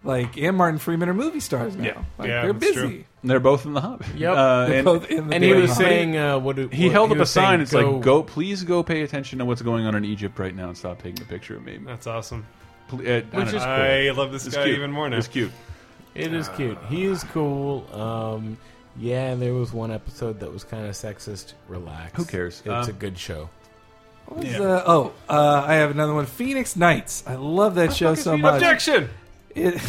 Like, and Martin Freeman are movie stars now. Yeah. Like, Yeah, they're that's busy. true. They're both in the Hobbit. Yep. Uh, They're and both in the And he damn was Hobbit. saying, uh, what do- he what- held he up a was saying, sign. It's go- like, go, please go pay attention to what's going on in Egypt right now and stop taking a picture of me. uh, That's awesome. Which is Which is cool. I love this guy cute. even more now. It's cute. It is cute. He is cool. Um, yeah, there was one episode that was kind of sexist. Relax. Who cares? It's Um, a good show. What was, uh, oh, uh, I have another one. Phoenix Knights. I love that show so much. Objection! It,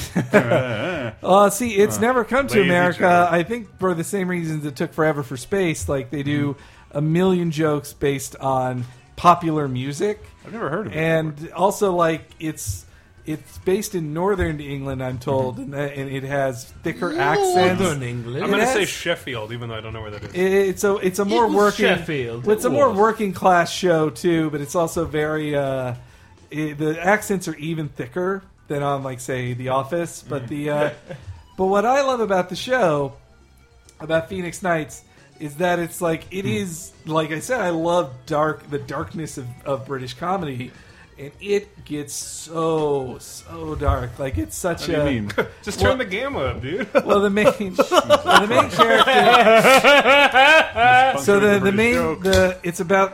well, see, it's Uh, never come to lazy America. joke. I think for the same reasons it took forever for space. Like they do a million jokes based on popular music. I've never heard of it And also, like it's it's based in Northern England, I'm told, and, that, and it has thicker accents. Northern England. I'm going to It say has- Sheffield, even though I don't know where that is. it- it's a it's a more was working Sheffield. well, It's It a more was. working class show too, but it's also very uh, it, the accents are even thicker than on like say The Office. Mm. But the uh, but what I love about the show about Phoenix Nights is that it's like it Mm. is like I said I love dark the darkness of, of British comedy. And it gets so so dark, like it's such What do you a. mean? Just turn the gamma up, dude. Well, the main, well, the main character. Dysfunction so the of the the British main joke. the it's about.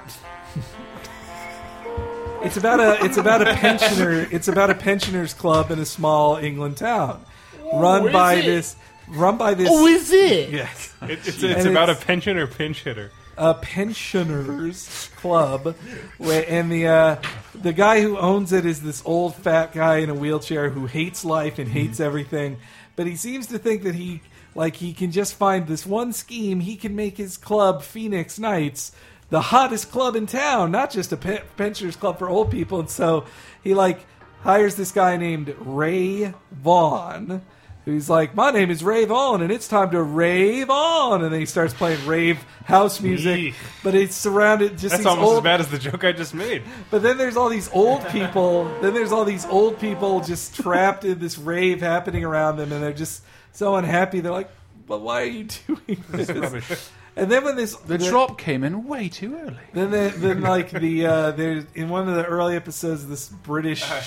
It's about a it's about a pensioner it's about a pensioners club in a small England town, Oh, run is by it? this run by this. Oh, is it? Yes, It- it's- it's And about a pension or pinch hitter. a pensioners club, where, and the uh, the guy who owns it is this old fat guy in a wheelchair who hates life and hates everything, but he seems to think that he like he can just find this one scheme he can make his club Phoenix Knights the hottest club in town, not just a pe- pensioners club for old people, and so he like hires this guy named Ray Vaughn. Who's like, my name is Rave On, and it's time to rave on, and then he starts playing rave house music, but it's surrounded just That's these almost old as bad as the joke I just made. but then there's all these old people. then there's all these old people just trapped in this rave happening around them, and they're just so unhappy. They're like, "But why are you doing this?" rubbish. And then when this The drop came in way too early. Then the, then like the uh, there's in one of the early episodes this British. Uh-huh.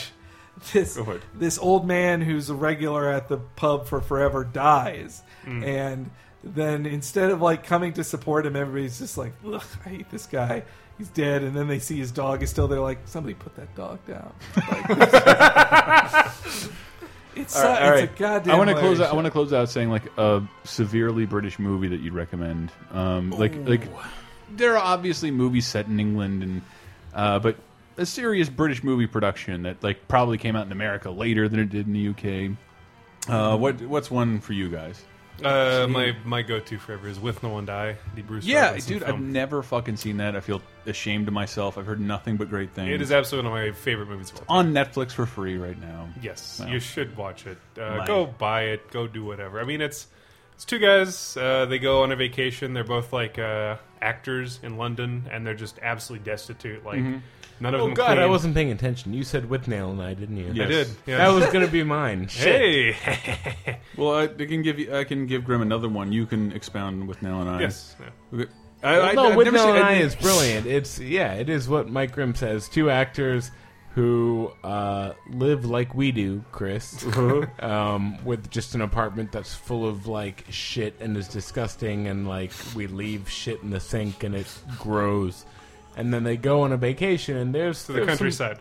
This this old man who's a regular at the pub for forever dies, Hmm. Mm. and then instead of like coming to support him, everybody's just like, "Ugh, I hate this guy. He's dead." And then they see his dog is still there. Like somebody put that dog down. Like, it's All right, so- all it's right. a goddamn. I want to hilarious close. Out, I show. want to close out saying like a severely British movie that you'd recommend. Um, like like there are obviously movies set in England and uh, but a serious British movie production that like probably came out in America later than it did in the UK. Uh, what what's one for you guys? Uh, my my go to forever is With No One Die, the Bruce yeah, Robinson dude, I've film. never fucking seen that. I feel ashamed of myself. I've heard nothing but great things. It is absolutely one of my favorite movies of all time. on Netflix for free right now. Yes, Wow. you should watch it. Uh, Mine. go buy it. Go do whatever. I mean, it's it's two guys. Uh, they go on a vacation. They're both like uh, actors in London, and they're just absolutely destitute. Like Mhm. none of oh them. God, clean. I wasn't paying attention. You said with nail and I didn't you? I did. yeah. That was going to be mine. Hey. well, I, I can give you. I can give Grim another one. You can expound with Nell and I. Yes, yeah. Okay. Well, Oh, I- I- no, I've with never Mel seen- and I- I is brilliant. It's yeah, it is what Mike Grimm says. Two actors who uh, live like we do, Chris, Uh-huh. Mm-hmm. um, with just an apartment that's full of like shit and is disgusting, and like we leave shit in the sink and it grows. And then they go on a vacation, and there's To the there's some- countryside.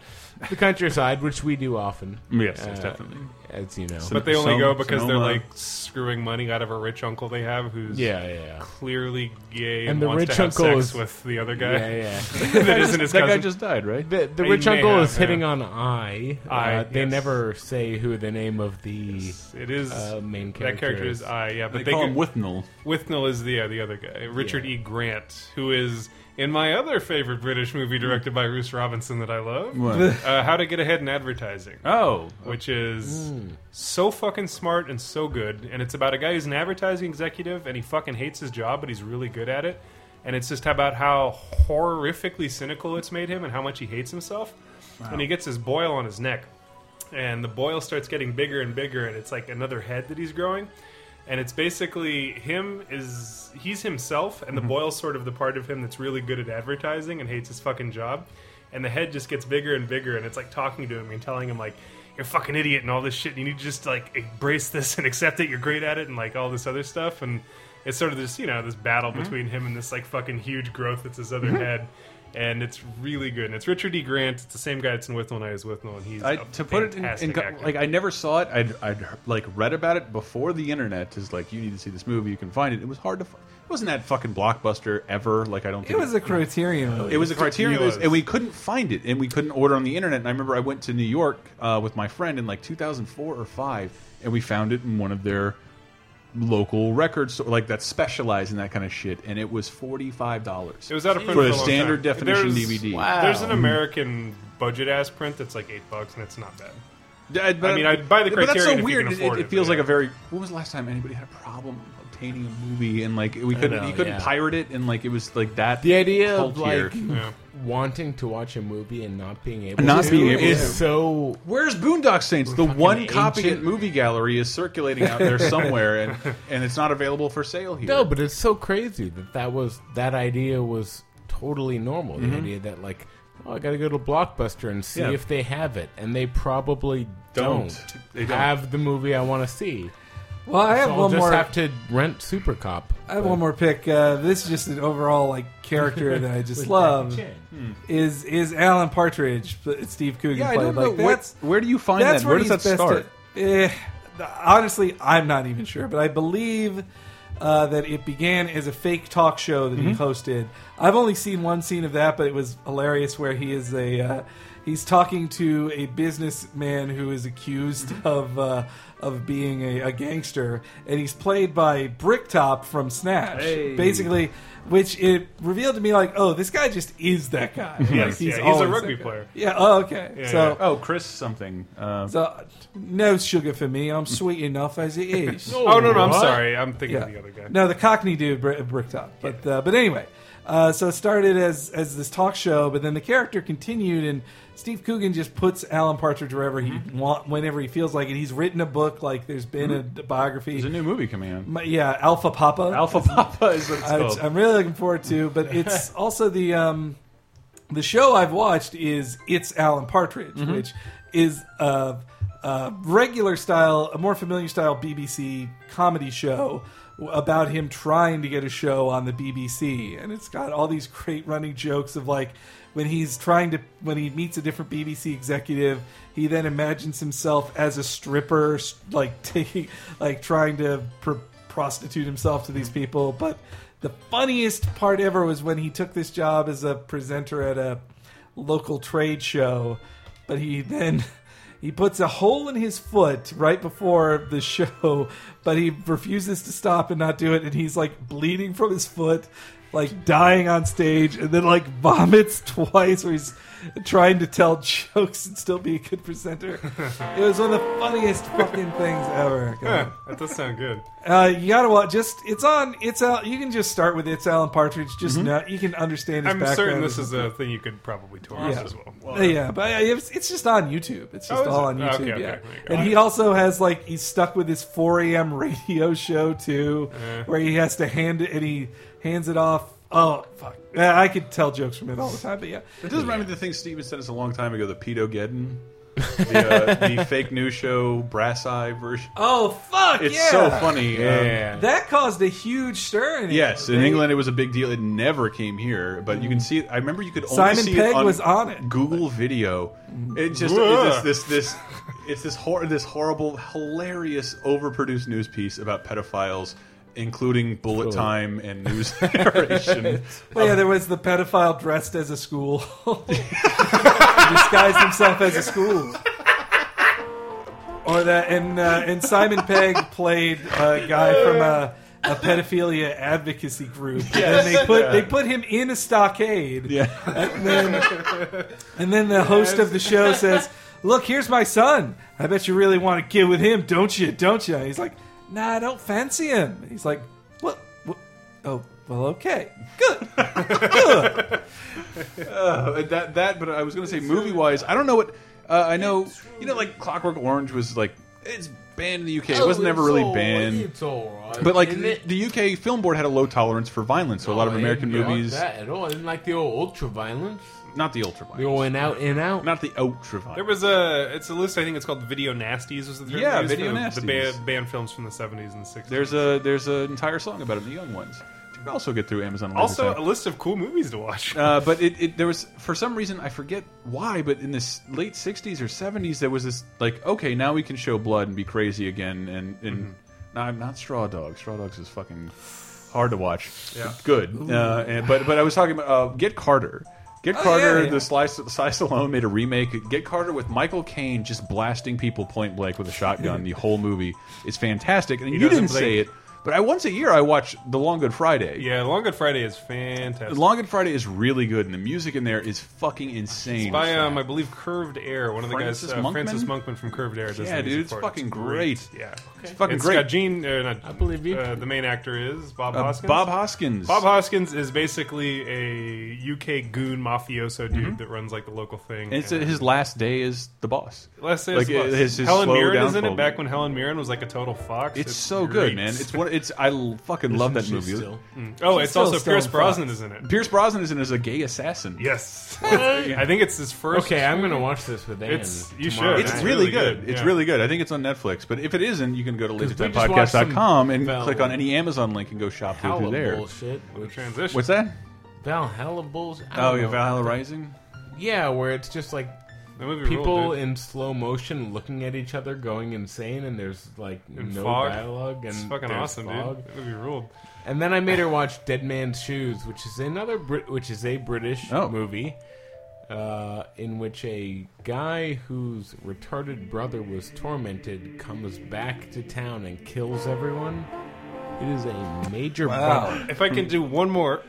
the countryside, which we do often. Yes, Uh, yes, definitely. as you know. But they only Some- go because they're Sonoma. like screwing money out of a rich uncle they have who's Yeah, yeah. clearly gay and, And the wants rich to have uncle sex is with the other guy. Yeah, yeah. that isn't his That guy cousin. just died, right? The, the He rich may uncle have, is hitting yeah. on I. I, Uh, they yes. never say who the name of the It is uh, main character. That character is I. Yeah, but They they, call go- him Withnall. Withnall is the yeah, the other guy, Richard E. Grant, who is in my other favorite British movie directed by Roose Robinson that I love, What? Uh, How to Get Ahead in Advertising. Oh. which is Mm. so fucking smart and so good, and it's about a guy who's an advertising executive and he fucking hates his job, but he's really good at it. And it's just about how horrifically cynical it's made him and how much he hates himself. Wow. And he gets this boil on his neck and the boil starts getting bigger and bigger and it's like another head that he's growing and it's basically him is he's himself and the Mm-hmm. boil's sort of the part of him that's really good at advertising and hates his fucking job and the head just gets bigger and bigger and it's like talking to him and telling him like you're a fucking idiot and all this shit. And you need to just like embrace this and accept it. You're great at it and like all this other stuff. And it's sort of this, you know, this battle Mhm. between him and this like fucking huge growth that's his other Mhm. head. And it's really good. And it's Richard E. Grant. It's the same guy that's in Withnell and I was Withnell. And he's I, a to put it in, in fantastic co- actor. like I never saw it. I'd, I'd like read about it before the internet is like you need to see this movie. You can find it. It was hard to. find. It wasn't that fucking blockbuster ever. Like I don't. It think was a Criterion release. It was a Criterion It release, was. and we couldn't find it, and we couldn't order on the internet. And I remember I went to New York uh, with my friend in like 2004 or five, and we found it in one of their local records, store, like that specialized in that kind of shit, and it was forty five dollars. It was out of print for for a a long standard time. definition There's- DVD. There's an American budget ass print that's like eight bucks, and it's not bad. Yeah, but- I mean, I'd buy uh, the but Criterion. that's so if you weird. can It- afford it, but feels yeah. like a very. When was the last time anybody had a problem obtaining a movie and like we I couldn't know, you couldn't yeah. pirate it and like it was like that. The idea held of here. like wanting to watch a movie and not being able Not to being able is to. so. Where's Boondock Saints? The one copy at ancient. movie gallery is circulating out there somewhere, and and it's not available for sale here. No, but it's so crazy that that was that idea was totally normal. Mhm. The idea that like, oh, I got to go to Blockbuster and see Yeah. if they have it, and they probably Don't. don't, They don't. have the movie I want to see. Well, I have So I'll one just more- Have to rent Super Cop. I have one more pick. Uh, this is just an overall like character that I just With love. Jackie Chan. Hmm. Is is Alan Partridge? but Steve Coogan Yeah, I played don't know. like Where- that's where do you find that's that? Where he's does that best start? at. Eh, honestly, I'm not even sure, but I believe uh, that it began as a fake talk show that he Mhm. hosted. I've only seen one scene of that, but it was hilarious. Where he is a uh, he's talking to a businessman who is accused of uh, of being a, a gangster, and he's played by Bricktop from Snatch, Hey. basically. Which it revealed to me like, oh, this guy just is that guy. Like, Yes, yeah, he's a always rugby that guy. player. Yeah. Oh, okay. so oh, Chris something. Uh, so, no sugar for me. I'm sweet enough as it is. Oh, no, no, I'm What? sorry. I'm thinking of the other guy. No, the Cockney dude, Br- Bricktop. But uh, but anyway, uh, so it started as as this talk show, but then the character continued, and Steve Coogan just puts Alan Partridge wherever he Mm-hmm. want, whenever he feels like it. He's written a book. Like there's been a biography. There's a new movie coming out. yeah, Alpha Papa. Alpha Papa is what it's I, called. I'm really looking forward to, but it's also the um, the show I've watched is It's Alan Partridge, Mm-hmm. Mhm. which is a, a regular style, a more familiar style BBC comedy show about him trying to get a show on the BBC, and it's got all these great running jokes of like when he's trying to when he meets a different BBC executive, he then imagines himself as a stripper, s- like taking like trying to. Pr- prostitute himself to these people. But the funniest part ever was when he took this job as a presenter at a local trade show. But he then he puts a hole in his foot right before the show, but he refuses to stop and not do it, and he's like bleeding from his foot. Like dying on stage, and then like vomits twice, where he's trying to tell jokes and still be a good presenter. it was one of the funniest fucking things ever. Huh, that does sound good. Uh, you gotta watch. Just it's on. It's out. You can just start with it's Alan Partridge. Just Mhm. know you can understand. His I'm background certain this and- is a thing you could probably tour us Yeah. as well. yeah, but I- it's, it's just on YouTube. It's Oh, just is all it? on YouTube. Okay, okay, yeah, there you go. and he also has like he's stuck with his 4 a.m. radio show too, Uh. where he has to hand it and he hands it off. Oh fuck! Yeah, I could tell jokes from it all the time, but yeah, It does remind me of the thing Steven sent us a long time ago, the pedo geddon. the, uh, the fake news show brass eye version. Oh fuck! It's yeah. so funny. um, That caused a huge stir. In Yes, in England. England it was a big deal. It never came here, but you can see. it. I remember you could only Simon see Pegg it on was on it. Google Video. It just Ugh. it's this this this it's this hor this horrible, hilarious, overproduced news piece about pedophiles, including bullet Cool. time and news narration. Well, Um, yeah, there was the pedophile dressed as a school, He disguised himself as a school. Or that, and uh, and Simon Pegg played a guy from a, a pedophilia advocacy group, Yes. and they put Yeah. they put him in a stockade. Yeah. and then and then the host of the show says, "Look, here's my son. I bet you really want to get with him, don't you? Don't you?" And he's like, "Nah, I don't fancy him." He's like, "What? what? Oh, well, okay, good, good." Uh, that that, but I was going to say movie wise, I don't know what uh, I know. You know, like Clockwork Orange was like it's banned in the UK. It Oh, wasn't ever it's really all- banned. it's all right, But like isn't the, the UK film board had a low tolerance for violence, so a lot of I American didn't like movies, that at all. I didn't like the old ultra violence. not the ultra violence, The old in out in out. Not the ultra violence. There was a it's a list I think it's called Video Nasties. Was the term Yeah, used Video for the- Nasties. The banned banned films from the seventies and sixties. There's a there's an entire song about it in the young ones. You can also get through Amazon. Live also Attack. a list of cool movies to watch. Uh, but it, it there was for some reason I forget why, but in this late '60s or '70s there was this like, okay, now we can show blood and be crazy again, and and Mm-hmm. no, I'm not Straw Dogs. Straw Dogs is fucking hard to watch. Yeah. good. Ooh. Uh, and, but but I was talking about uh, Get Carter. Get Oh, Carter, yeah, yeah. the Slice Sly Stallone made a remake. Get Carter with Michael Caine just blasting people point blank with a shotgun. the whole movie is fantastic, and He you doesn't didn't say it, blink. but I once a year I watch The Long Good Friday. yeah, Long Good Friday is fantastic. Long Good Friday is really good, and the music in there is fucking insane. It's by um, I believe Curved Air, one of the Francis guys, uh, Monkman? Francis Monkman from Curved Air. Does Yeah, the music dude, it's for it. fucking great. Yeah, It's fucking It's great. Got Gene, uh, not, I believe you. Uh, the main actor is Bob Uh, Hoskins. Bob Hoskins. Bob Hoskins is basically a UK goon mafioso dude that runs like the local thing. And Mm-hmm. it's, his last day is the boss. Last day like, is the boss. His, his Helen slow Mirren downfall. isn't it? Back when Helen Mirren was like a total fox. It's, so great. good, man. It's what it's. I l- fucking love that movie. Mm. Oh, it's also Pierce Brosnan is in it. Pierce Brosnan is in it as a gay assassin. Yes, Yeah. I think it's his first. Okay, I'm gonna watch this with Dan It's, you tomorrow should. night. It's really good. It's really good. I think it's on Netflix. But if it isn't, you can go to 'Cause we just lasertimepodcast.com watched and some Val- click on any Amazon link and go shop through, Hella through there. bullshit. Which, transition. What's that? Valhalla Bulls. I Oh, don't yeah, know. Valhalla Rising? Yeah, where it's just like That movie ruled, people dude. in slow motion looking at each other, going insane, and there's like And no fog. dialogue. And It's fucking there's awesome, dude. fog. That movie ruled. And then I made her watch Dead Man's Shoes, which is another Brit- which is a British Oh. movie. Uh, in which a guy whose retarded brother was tormented comes back to town and kills everyone. It is a major bummer. If I can do one more,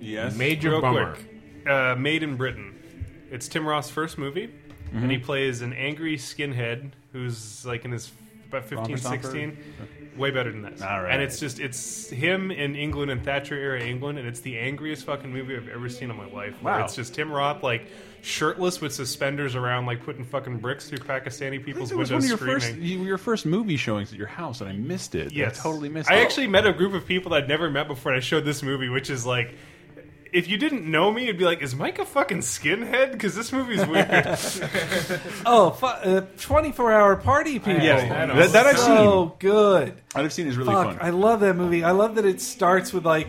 yes, Major real bummer. quick. Uh, Made in Britain. It's Tim Roth's first movie, and Mm-hmm. he plays an angry skinhead who's like in his about 15, Romper stomper? 16. Way better than this. All right. And it's just it's him in England and Thatcher era England, and it's the angriest fucking movie I've ever seen in my life. where Wow. It's just Tim Roth like shirtless with suspenders around, like putting fucking bricks through Pakistani people's It was windows, one of your screaming. first you- your first movie showings at your house, and I missed it. Yes. I totally missed I it. actually met a group of people that I'd never met before, and I showed this movie, which is like. If you didn't know me, you'd be like, "Is Mike a fucking skinhead?" Because this movie's weird. Oh, fu- uh, 24 hour party people. Yeah, that- that I've so seen. good. That I've seen is really Fuck, fun. I love that movie. I love that it starts with like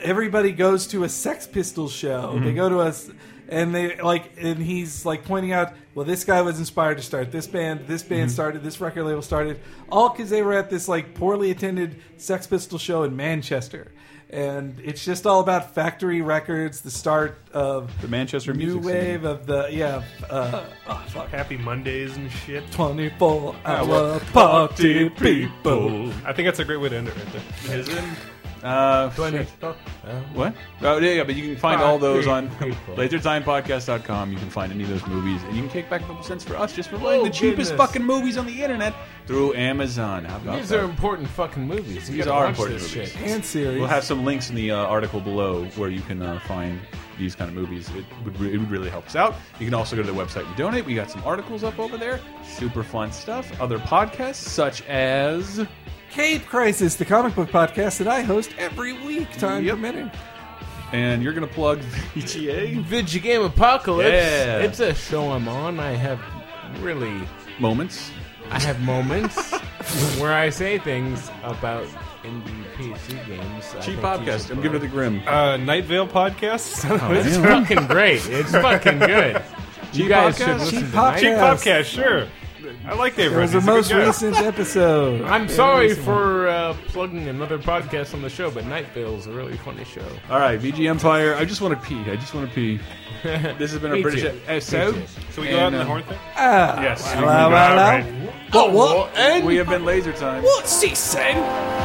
everybody goes to a Sex Pistols show. Mhm. They go to us and they like and he's like pointing out, well, this guy was inspired to start this band. This band Mhm. started. This record label started. All because they were at this like poorly attended Sex Pistols show in Manchester. And it's just all about factory records, the start of the Manchester new music scene. wave of the yeah uh, oh, fuck. Happy Mondays and shit. 24 hour party people. I think that's a great way to end it right there. Is it? Uh, shit. What? Oh, yeah, yeah, but you can find all those on lasertimepodcast.com. You can find any of those movies, and you can kick back a couple cents for us just for playing the cheapest Oh, goodness. fucking movies on the internet through Amazon. How about These that? are important fucking movies. You These gotta are watch important this movies. shit. series. We'll have some links in the uh, article below where you can uh, find these kind of movies. It would, re- it would really help us out. You can also go to the website and donate. We got some articles up over there. Super fun stuff. Other podcasts such as. Cape Crisis, the comic book podcast that I host every week, time Yep. permitting. And you're going to plug VGA? Video Game Apocalypse. Yeah. It's a show I'm on. I have really moments. I have moments where I say things about indie PC games. I Cheap think you podcast. should I'm giving it plug. the grim. Uh, Night Vale podcast. It's fucking great. It's fucking good. Cheap You guys podcast? should listen Cheap to that. podcast. Cheap podcast, sure. I like Dave It was Rudney. the He's a good most guy. recent episode. I'm Very sorry recent for uh, plugging another podcast on the show, but Night Vale is a really funny show. All right, VG Empire. I just want to pee. I just want to pee. This has been a Me British too. episode. Me too. Should we go out in the uh, horn thing? Ah. Yes. Wow, wow, wow. All right. Oh, We have been laser time. What's he saying?